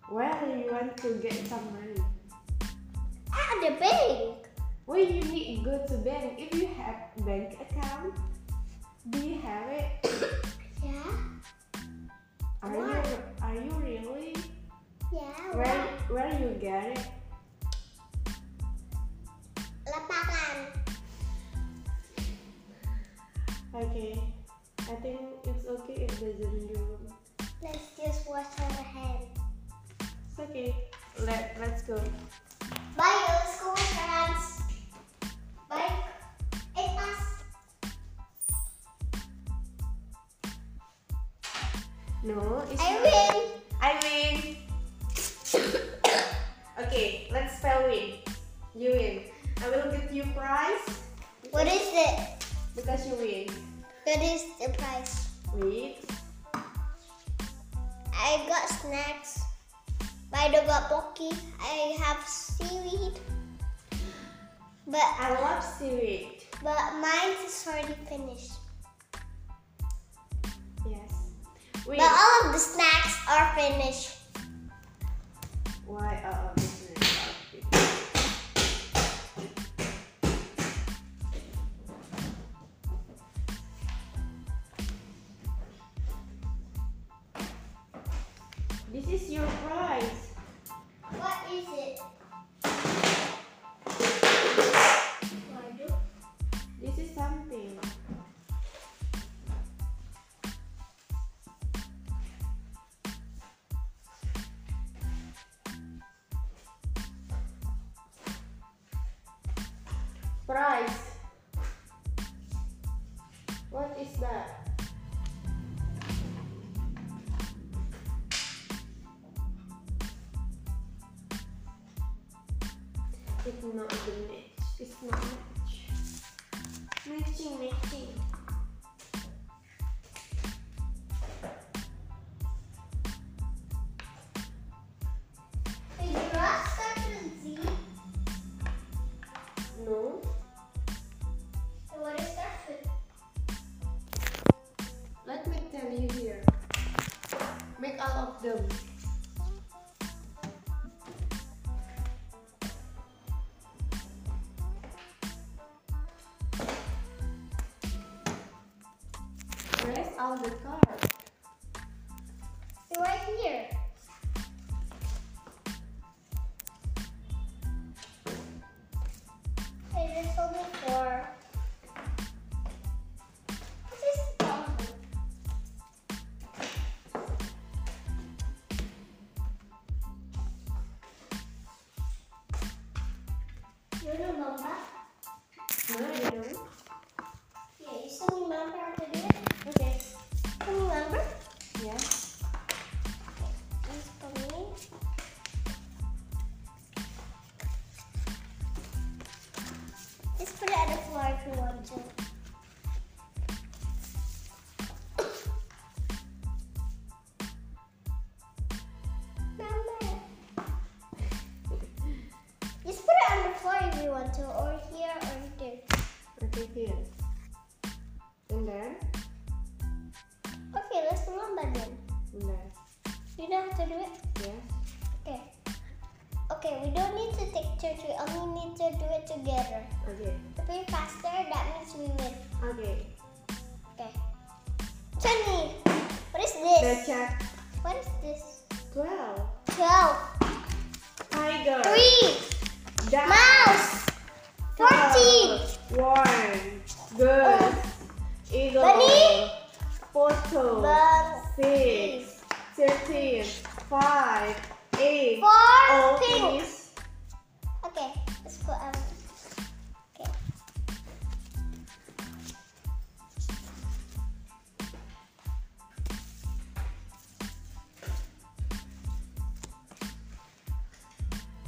Speaker 1: Where do you want to get some money?
Speaker 2: At Ah, the bank.
Speaker 1: Where you need go to bank if you have bank account? Do you have it?
Speaker 2: Yeah.
Speaker 1: Are you are you really?
Speaker 2: Yeah.
Speaker 1: Where where you get it?
Speaker 2: Lapangan.
Speaker 1: Okay. I think it's okay if doesn't go.
Speaker 2: Let's just wash our hands.
Speaker 1: It's okay. Let let's go.
Speaker 2: Bye, let's go wash our hands. Bye. It us.
Speaker 1: No, it's
Speaker 2: I
Speaker 1: not.
Speaker 2: win.
Speaker 1: I win. okay, let's spell win. You win. I will give you prize
Speaker 2: What is it?
Speaker 1: because you win.
Speaker 2: What is the price?
Speaker 1: Wait.
Speaker 2: I got snacks. Bido got Pocky. I have seaweed. But
Speaker 1: I love seaweed.
Speaker 2: but mine is already finished.
Speaker 1: Yes. Wait.
Speaker 2: But all of the snacks are finished.
Speaker 1: Why? Uh, this is This is your prize.
Speaker 2: What is it?
Speaker 1: This is something. Price. What is that? It's not the match. It's not match. Matching, matching.
Speaker 2: The grass starts with Z.
Speaker 1: No.
Speaker 2: The letter starts with
Speaker 1: Let me tell you here. Make all of them. Where's all the cards?
Speaker 2: They're right here. Hey, there's only four. This is dumb. You remember?
Speaker 1: No, you don't.
Speaker 2: Yeah, you still remember how to do it?
Speaker 1: Okay.
Speaker 2: Still remember?
Speaker 1: Yeah.
Speaker 2: This for me. Just put it on the floor if you want to. Mama. Just put it on the floor if you want to, or here or there.
Speaker 1: Okay, here. And there.
Speaker 2: Okay, let's remember then.
Speaker 1: And there.
Speaker 2: You know how to do it?
Speaker 1: Yes.
Speaker 2: Okay. Okay, we don't need to take turns. We only need to do it together.
Speaker 1: Okay.
Speaker 2: If we're faster, that means we win.
Speaker 1: Okay.
Speaker 2: Okay. Twenty. What is this?
Speaker 1: The check.
Speaker 2: What is this?
Speaker 1: 12.
Speaker 2: Twelve.
Speaker 1: Tiger.
Speaker 2: Three.
Speaker 1: Duck.
Speaker 2: Mouse. Fourteen.
Speaker 1: One. Good. Eagle.
Speaker 2: Bunny.
Speaker 1: Photo.
Speaker 2: Bum.
Speaker 1: Six. Thirteen. Five. Eight.
Speaker 2: Four.
Speaker 1: Oh,
Speaker 2: Pink.
Speaker 1: please.
Speaker 2: Okay. Let's put um. Okay.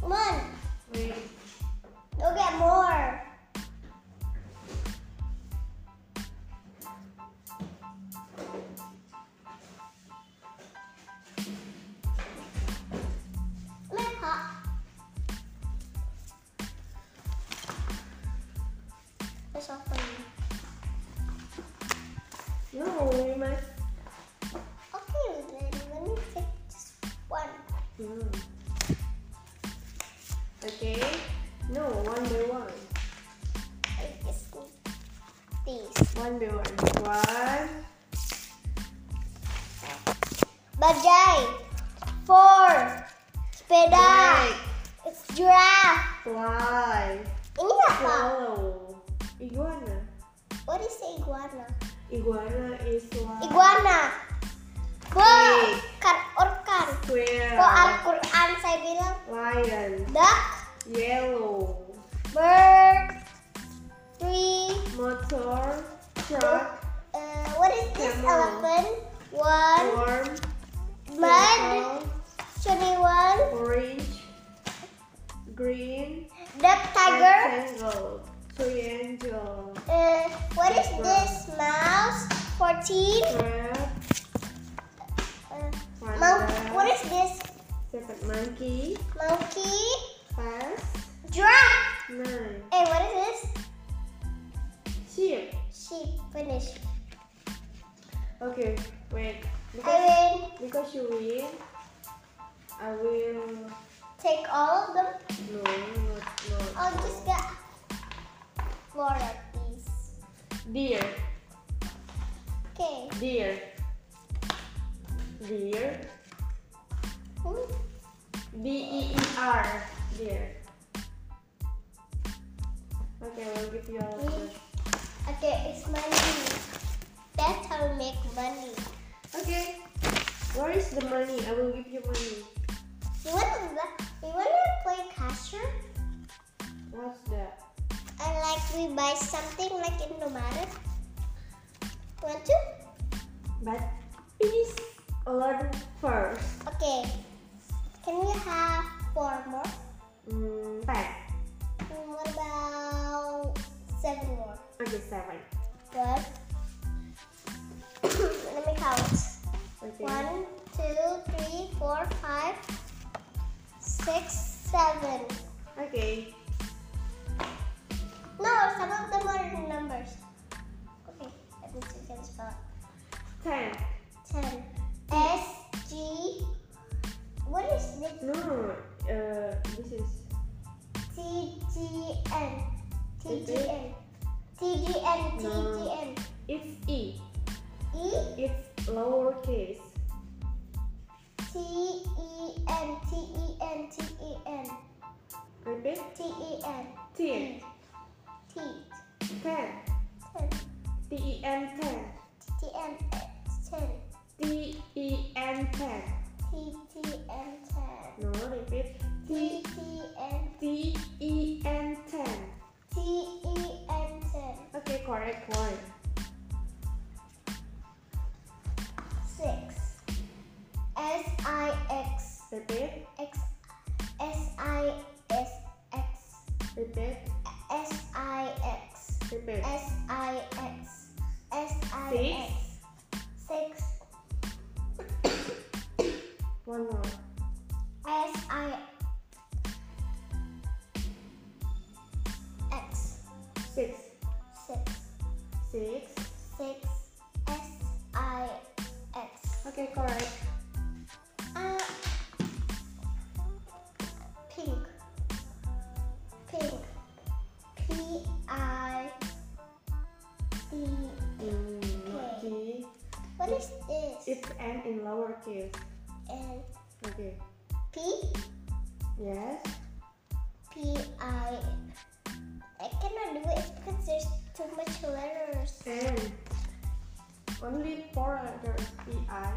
Speaker 2: Come on.
Speaker 1: Wait.
Speaker 2: Go get more. Let hot. It's all for you.
Speaker 1: No, we must.
Speaker 2: Okay, then let me take just one.
Speaker 1: No. Okay. No, one by one.
Speaker 2: I just need these.
Speaker 1: One by one. One.
Speaker 2: Bajai. Four. Sepeda.
Speaker 1: Snake.
Speaker 2: It's giraffe.
Speaker 1: Fly.
Speaker 2: Ini apa?
Speaker 1: Swallow. Iguana.
Speaker 2: What is iguana?
Speaker 1: Iguana is like
Speaker 2: Iguana.
Speaker 1: Pig.
Speaker 2: Bukan orkan.
Speaker 1: square.
Speaker 2: Kok Al-Quran saya bilang
Speaker 1: Lion.
Speaker 2: duck,
Speaker 1: Yellow.
Speaker 2: bird, three.
Speaker 1: Motor. Truck.
Speaker 2: Uh, what is this
Speaker 1: Camel.
Speaker 2: elephant? One,
Speaker 1: Worm.
Speaker 2: mud,
Speaker 1: circle,
Speaker 2: twenty-one.
Speaker 1: Orange. Green.
Speaker 2: Duck, tiger.
Speaker 1: Rectangle. Triangle.
Speaker 2: Uh, what is this? Mouse, fourteen.
Speaker 1: Crab.
Speaker 2: Uh, mon- what
Speaker 1: Panda.
Speaker 2: is this?
Speaker 1: Separate monkey.
Speaker 2: Monkey,
Speaker 1: Pass.
Speaker 2: giraffe.
Speaker 1: Nine.
Speaker 2: And what is this?
Speaker 1: Sheep.
Speaker 2: Sheep. Finish.
Speaker 1: Okay. Wait. Because
Speaker 2: I mean,
Speaker 1: because you win, I will.
Speaker 2: take all of them.
Speaker 1: No, not not.
Speaker 2: I'll just get more of these.
Speaker 1: Deer,
Speaker 2: Okay.
Speaker 1: deer, deer,
Speaker 2: Hmm.
Speaker 1: D E E R, deer. Okay, I will give you all. of this.
Speaker 2: Okay, it's money. That's how we make money.
Speaker 1: Okay. Where is the money? I will give you money.
Speaker 2: You wanna you wanna play catcher?
Speaker 1: What's that?
Speaker 2: I like we buy something like Indomaret? Want to?
Speaker 1: But please order first.
Speaker 2: Okay. Can we have four more?
Speaker 1: Hmm, five.
Speaker 2: Hmm, What about seven more?
Speaker 1: Okay, seven.
Speaker 2: Good. Let me count.
Speaker 1: Okay.
Speaker 2: One, two, three, four, five, six, seven.
Speaker 1: Okay.
Speaker 2: No, some of them are numbers. Okay, let me see if I can spell it.
Speaker 1: Ten.
Speaker 2: Ten. S G. What is this?
Speaker 1: No, no, no. Uh, this is
Speaker 2: T G N. T
Speaker 1: Is
Speaker 2: G
Speaker 1: it?
Speaker 2: N. T G N. T G
Speaker 1: No.
Speaker 2: N.
Speaker 1: it's E.
Speaker 2: E
Speaker 1: It's lowercase.
Speaker 2: T E N. T E N. T E N.
Speaker 1: Repeat.
Speaker 2: T E N.
Speaker 1: Ten.
Speaker 2: T. E,
Speaker 1: Ten.
Speaker 2: Ten.
Speaker 1: T E N ten.
Speaker 2: T N. Ten.
Speaker 1: T E N ten.
Speaker 2: T T N. Ten.
Speaker 1: No, repeat.
Speaker 2: T
Speaker 1: T
Speaker 2: T N.
Speaker 1: T E N ten.
Speaker 2: T E N. Ten.
Speaker 1: Okay, correct one.
Speaker 2: Six. S I X.
Speaker 1: Repeat.
Speaker 2: X S I S X
Speaker 1: Repeat.
Speaker 2: S I X
Speaker 1: Repeat.
Speaker 2: S I X S I
Speaker 1: Six.
Speaker 2: X six
Speaker 1: One more.
Speaker 2: S I X
Speaker 1: Six.
Speaker 2: six
Speaker 1: Six.
Speaker 2: six S I X
Speaker 1: Okay, correct.
Speaker 2: uh, pink pink P I D
Speaker 1: Mm, not T.
Speaker 2: what is this
Speaker 1: It's N in lowercase.
Speaker 2: and
Speaker 1: Okay.
Speaker 2: P
Speaker 1: Yes.
Speaker 2: P I. I cannot do it because there's too much letters.
Speaker 1: N. Only four letters. P I.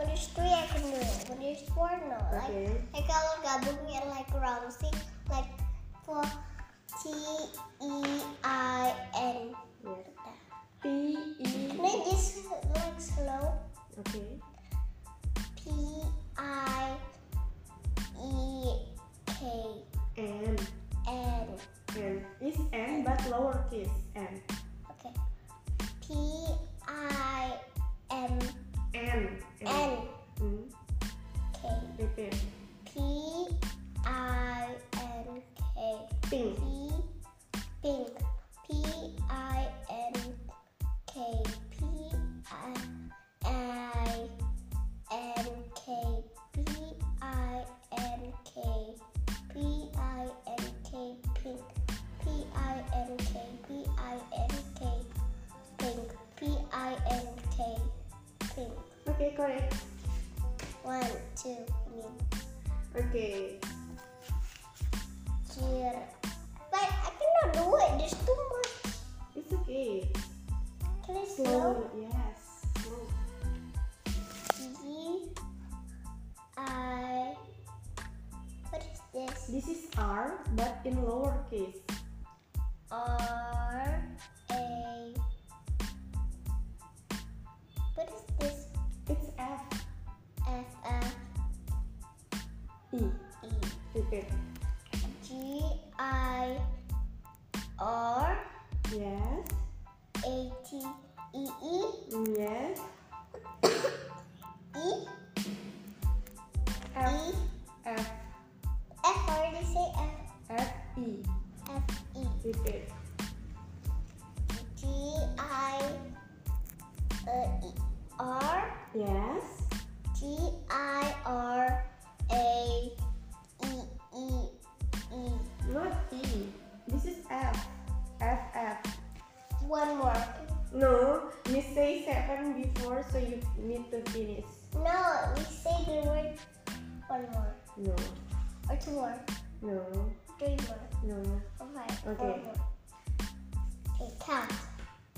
Speaker 2: When there's three, I can do it. When there's four, no. Like,
Speaker 1: Okay.
Speaker 2: like kalau gabungnya like Ramsey, like for T E I N.
Speaker 1: Yes. P E.
Speaker 2: Can I just like slow?
Speaker 1: Okay.
Speaker 2: P I E K
Speaker 1: N.
Speaker 2: N.
Speaker 1: N. It's N but lowercase N.
Speaker 2: Okay. P I M
Speaker 1: N.
Speaker 2: N
Speaker 1: Mm,
Speaker 2: K.
Speaker 1: repeat.
Speaker 2: P I N K.
Speaker 1: Pink.
Speaker 2: P pink. P I N K. P I I N K. P I N K. P I N K. Pink. P I N K. P I N K. Pink. P I N K. Pink.
Speaker 1: Okay, correct.
Speaker 2: One, two, three.
Speaker 1: Okay.
Speaker 2: Here. But I cannot do it. There's too much.
Speaker 1: It's okay.
Speaker 2: Can I slow?
Speaker 1: Slow. Yes. Slow.
Speaker 2: G I. What is this?
Speaker 1: This is R but in lowercase.
Speaker 2: R A. What is this?
Speaker 1: It's F.
Speaker 2: F F
Speaker 1: E.
Speaker 2: E.
Speaker 1: Repeat.
Speaker 2: G I R
Speaker 1: Yes.
Speaker 2: A T E E
Speaker 1: Mm, yes.
Speaker 2: E
Speaker 1: F.
Speaker 2: E.
Speaker 1: F.
Speaker 2: F already say F
Speaker 1: F. E.
Speaker 2: F E.
Speaker 1: Repeat.
Speaker 2: G I uh, E- R
Speaker 1: Yes.
Speaker 2: G I R A E E E.
Speaker 1: Not E. This is F. F. F.
Speaker 2: One more.
Speaker 1: No, you say seven before, so you need to finish.
Speaker 2: No, we say the word one more
Speaker 1: No,
Speaker 2: or two more,
Speaker 1: no,
Speaker 2: three more,
Speaker 1: no.
Speaker 2: or five, four
Speaker 1: Okay.
Speaker 2: more. Okay, count.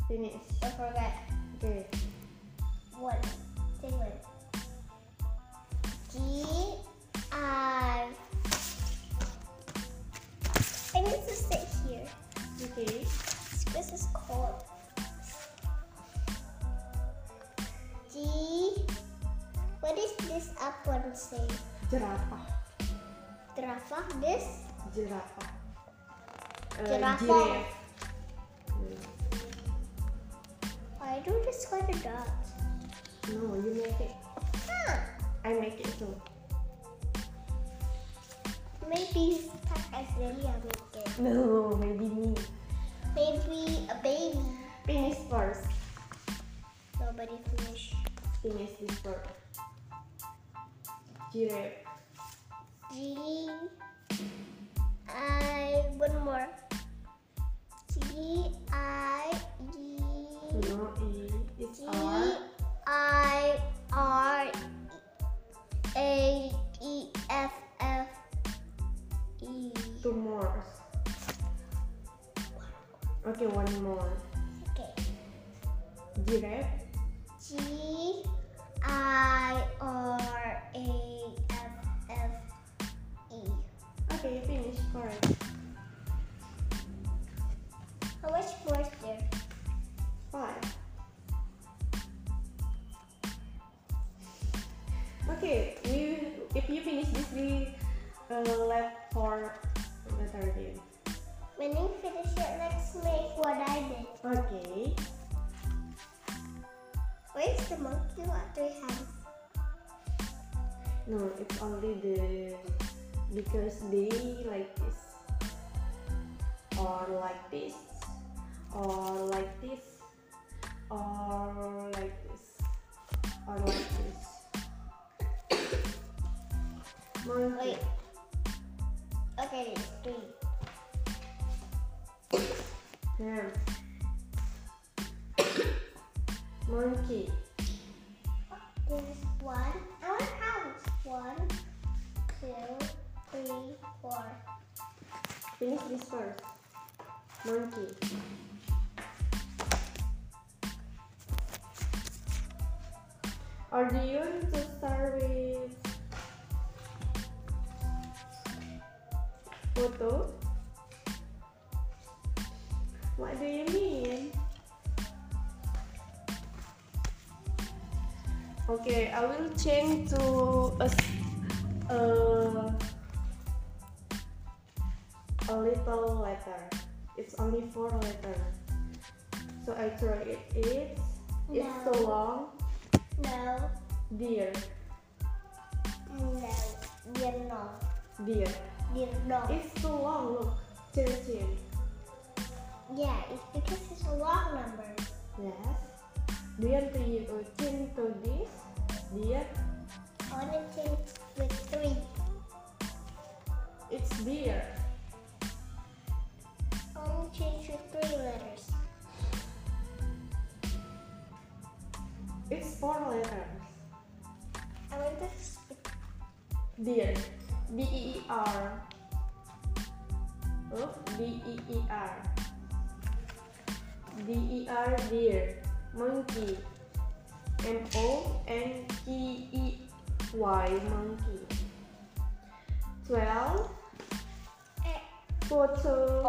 Speaker 1: Finish.
Speaker 2: Don't forget
Speaker 1: Okay.
Speaker 2: one. Say one. G I. I need to to sit here.
Speaker 1: Okay.
Speaker 2: This is cold. G. What is this up one say?
Speaker 1: Jerapah.
Speaker 2: Giraffe. This.
Speaker 1: Jerapah. Uh,
Speaker 2: Giraffe.
Speaker 1: giraffe.
Speaker 2: Why do you just call the dog?
Speaker 1: Eh, No, you make it.
Speaker 2: Huh.
Speaker 1: I make it too.
Speaker 2: Maybe stuck as really a it.
Speaker 1: No, maybe me.
Speaker 2: Maybe a baby.
Speaker 1: Finish first.
Speaker 2: Nobody finish.
Speaker 1: Finish this first. Giraffe.
Speaker 2: G. I. One more. G. I. E.
Speaker 1: No, E. It's
Speaker 2: G
Speaker 1: R.
Speaker 2: I R A E F F E.
Speaker 1: Two more. Okay, one more.
Speaker 2: Okay.
Speaker 1: Giraffe.
Speaker 2: G I R A F F E.
Speaker 1: Okay, finish. Correct.
Speaker 2: How much more is there?
Speaker 1: Five. Okay, we if you finish this, we uh, left for the third game.
Speaker 2: When you finish it, let's make what I did.
Speaker 1: Okay.
Speaker 2: Where's the monkey with three hands?
Speaker 1: No, it's only the because they like this or like this or like this or like this or like this. Monkey.
Speaker 2: Wait. Okay, three.
Speaker 1: Ham. Monkey.
Speaker 2: There's one. I want to count. One, two, three, four.
Speaker 1: Finish this first. Monkey. Or do you want to start with photo? What do you mean? Okay, I will change to a, s- uh, a little letter. It's only four letter. So I throw it. It's it's so
Speaker 2: No.
Speaker 1: long,
Speaker 2: No,
Speaker 1: dear,
Speaker 2: no, you're not.
Speaker 1: dear.
Speaker 2: You're not.
Speaker 1: It's too long. Look, thirteen.
Speaker 2: yeah, it's because it's a long number.
Speaker 1: Yes. Do you want to use a change to this? Dear,
Speaker 2: I want to change with three.
Speaker 1: it's dear.
Speaker 2: I want to change with three letters.
Speaker 1: It's four letters.
Speaker 2: I want to spit.
Speaker 1: Dear. D E E R. Oh, D E E R. D E R dear. Monkey. M O N K E Y monkey. Twelve.
Speaker 2: Eh,
Speaker 1: Photo.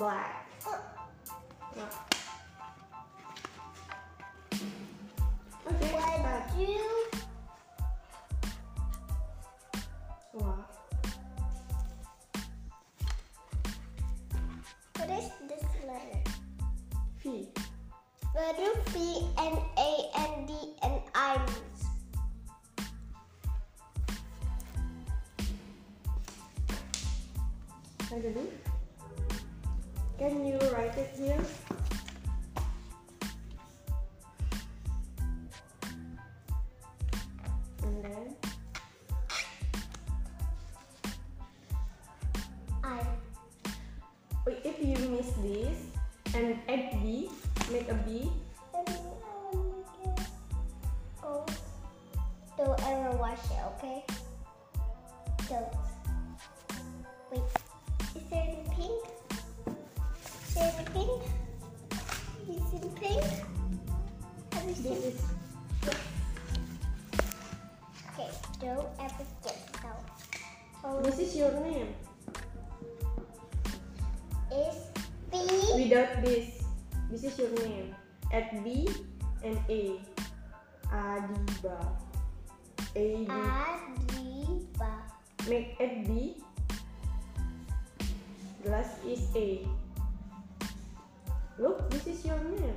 Speaker 1: Black.
Speaker 2: oh,
Speaker 1: Okay.
Speaker 2: One,
Speaker 1: start.
Speaker 2: two,
Speaker 1: Wow.
Speaker 2: what is this letter?
Speaker 1: V.
Speaker 2: What do V and A and D and I means?
Speaker 1: I don't know. Can you write it here? And then
Speaker 2: I.
Speaker 1: wait, if you miss this and add B, make a B.
Speaker 2: Don't ever wash it, okay? Don't. Wait, is there any pink? Is there any pink? You seen pink? Have you
Speaker 1: This
Speaker 2: seen?
Speaker 1: is
Speaker 2: Okay, don't ever get it out. Oh,
Speaker 1: this is your name. without this. This is your name. At B and A. Adiba. A D.
Speaker 2: Adiba.
Speaker 1: Make at B. Glass is A. Look, this is your name.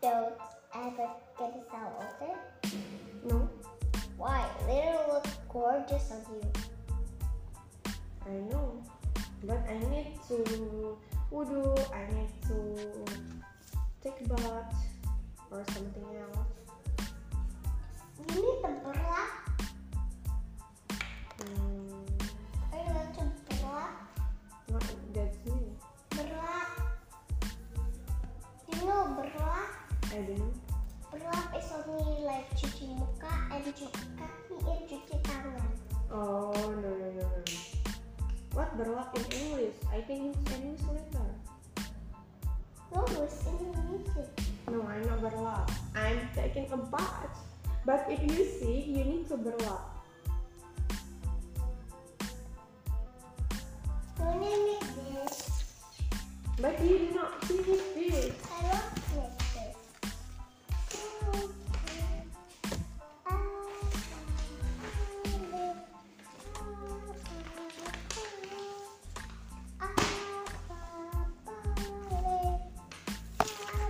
Speaker 2: Don't ever get this out, okay?
Speaker 1: No,
Speaker 2: Why? Little look gorgeous on you.
Speaker 1: I know. But I need to wudu. I need to take bath or something else.
Speaker 2: You need the black.
Speaker 1: Hmm,
Speaker 2: I want to black,
Speaker 1: not that's me.
Speaker 2: black. You know black?
Speaker 1: I don't know.
Speaker 2: Berlap is only like cuci muka and cuci kaki and cuci tangan.
Speaker 1: Oh no no no no. no. What berlap in English? I can use English later.
Speaker 2: No, it's Indonesia.
Speaker 1: No, I'm not berlap. I'm taking a bath. But if you see, you need to berlap.
Speaker 2: You name it this.
Speaker 1: But you did not see his face.
Speaker 2: I don't like this. Okay. I like it. I like it.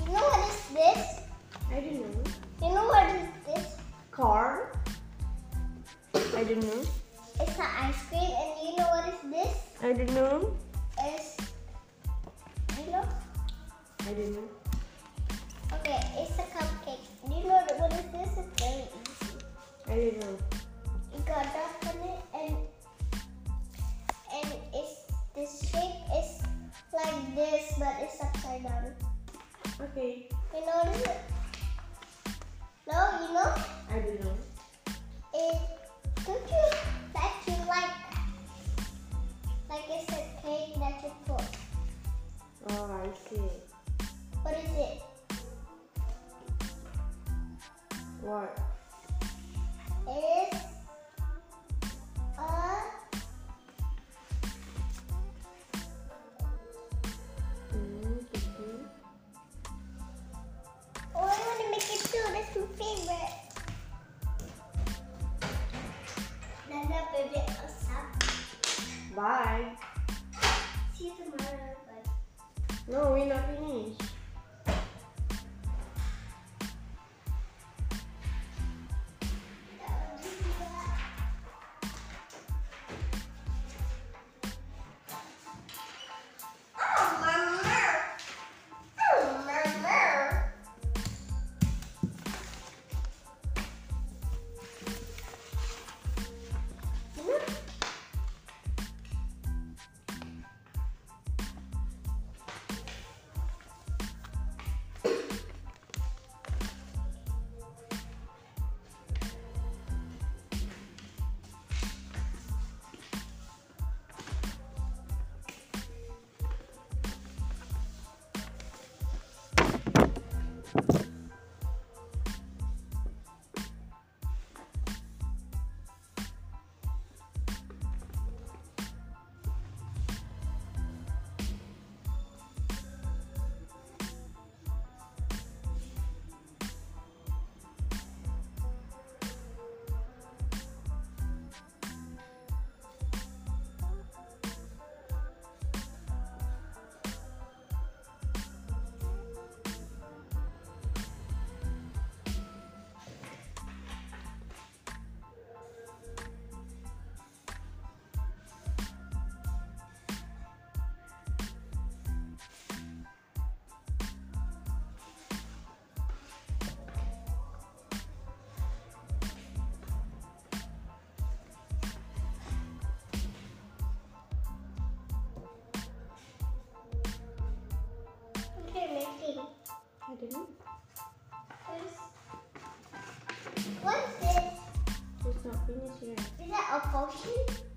Speaker 2: You know what is this?
Speaker 1: I don't know.
Speaker 2: You know what is this?
Speaker 1: Car. I don't know.
Speaker 2: It's an ice cream, and you know what is this?
Speaker 1: I don't know.
Speaker 2: It's you know.
Speaker 1: I don't know.
Speaker 2: Okay, it's a cupcake. Do you know what is this? It's very easy.
Speaker 1: I don't know.
Speaker 2: You got that on it, and and it's the shape is like this, but it's upside down.
Speaker 1: Okay.
Speaker 2: You know what is it? No, you know.
Speaker 1: I don't know.
Speaker 2: It don't you that you like like it's a cake that you put.
Speaker 1: Oh, I see.
Speaker 2: What is it?
Speaker 1: What?
Speaker 2: It's a oh,
Speaker 1: Hmm, gitu.
Speaker 2: oh, I want to make it too. That's my favorite. Nana, baby, what's up?
Speaker 1: Bye.
Speaker 2: See you tomorrow. Bye.
Speaker 1: No, we're not finished. didn't.
Speaker 2: What's this?
Speaker 1: It's not finished yet. Mm-hmm.
Speaker 2: Is that a potion?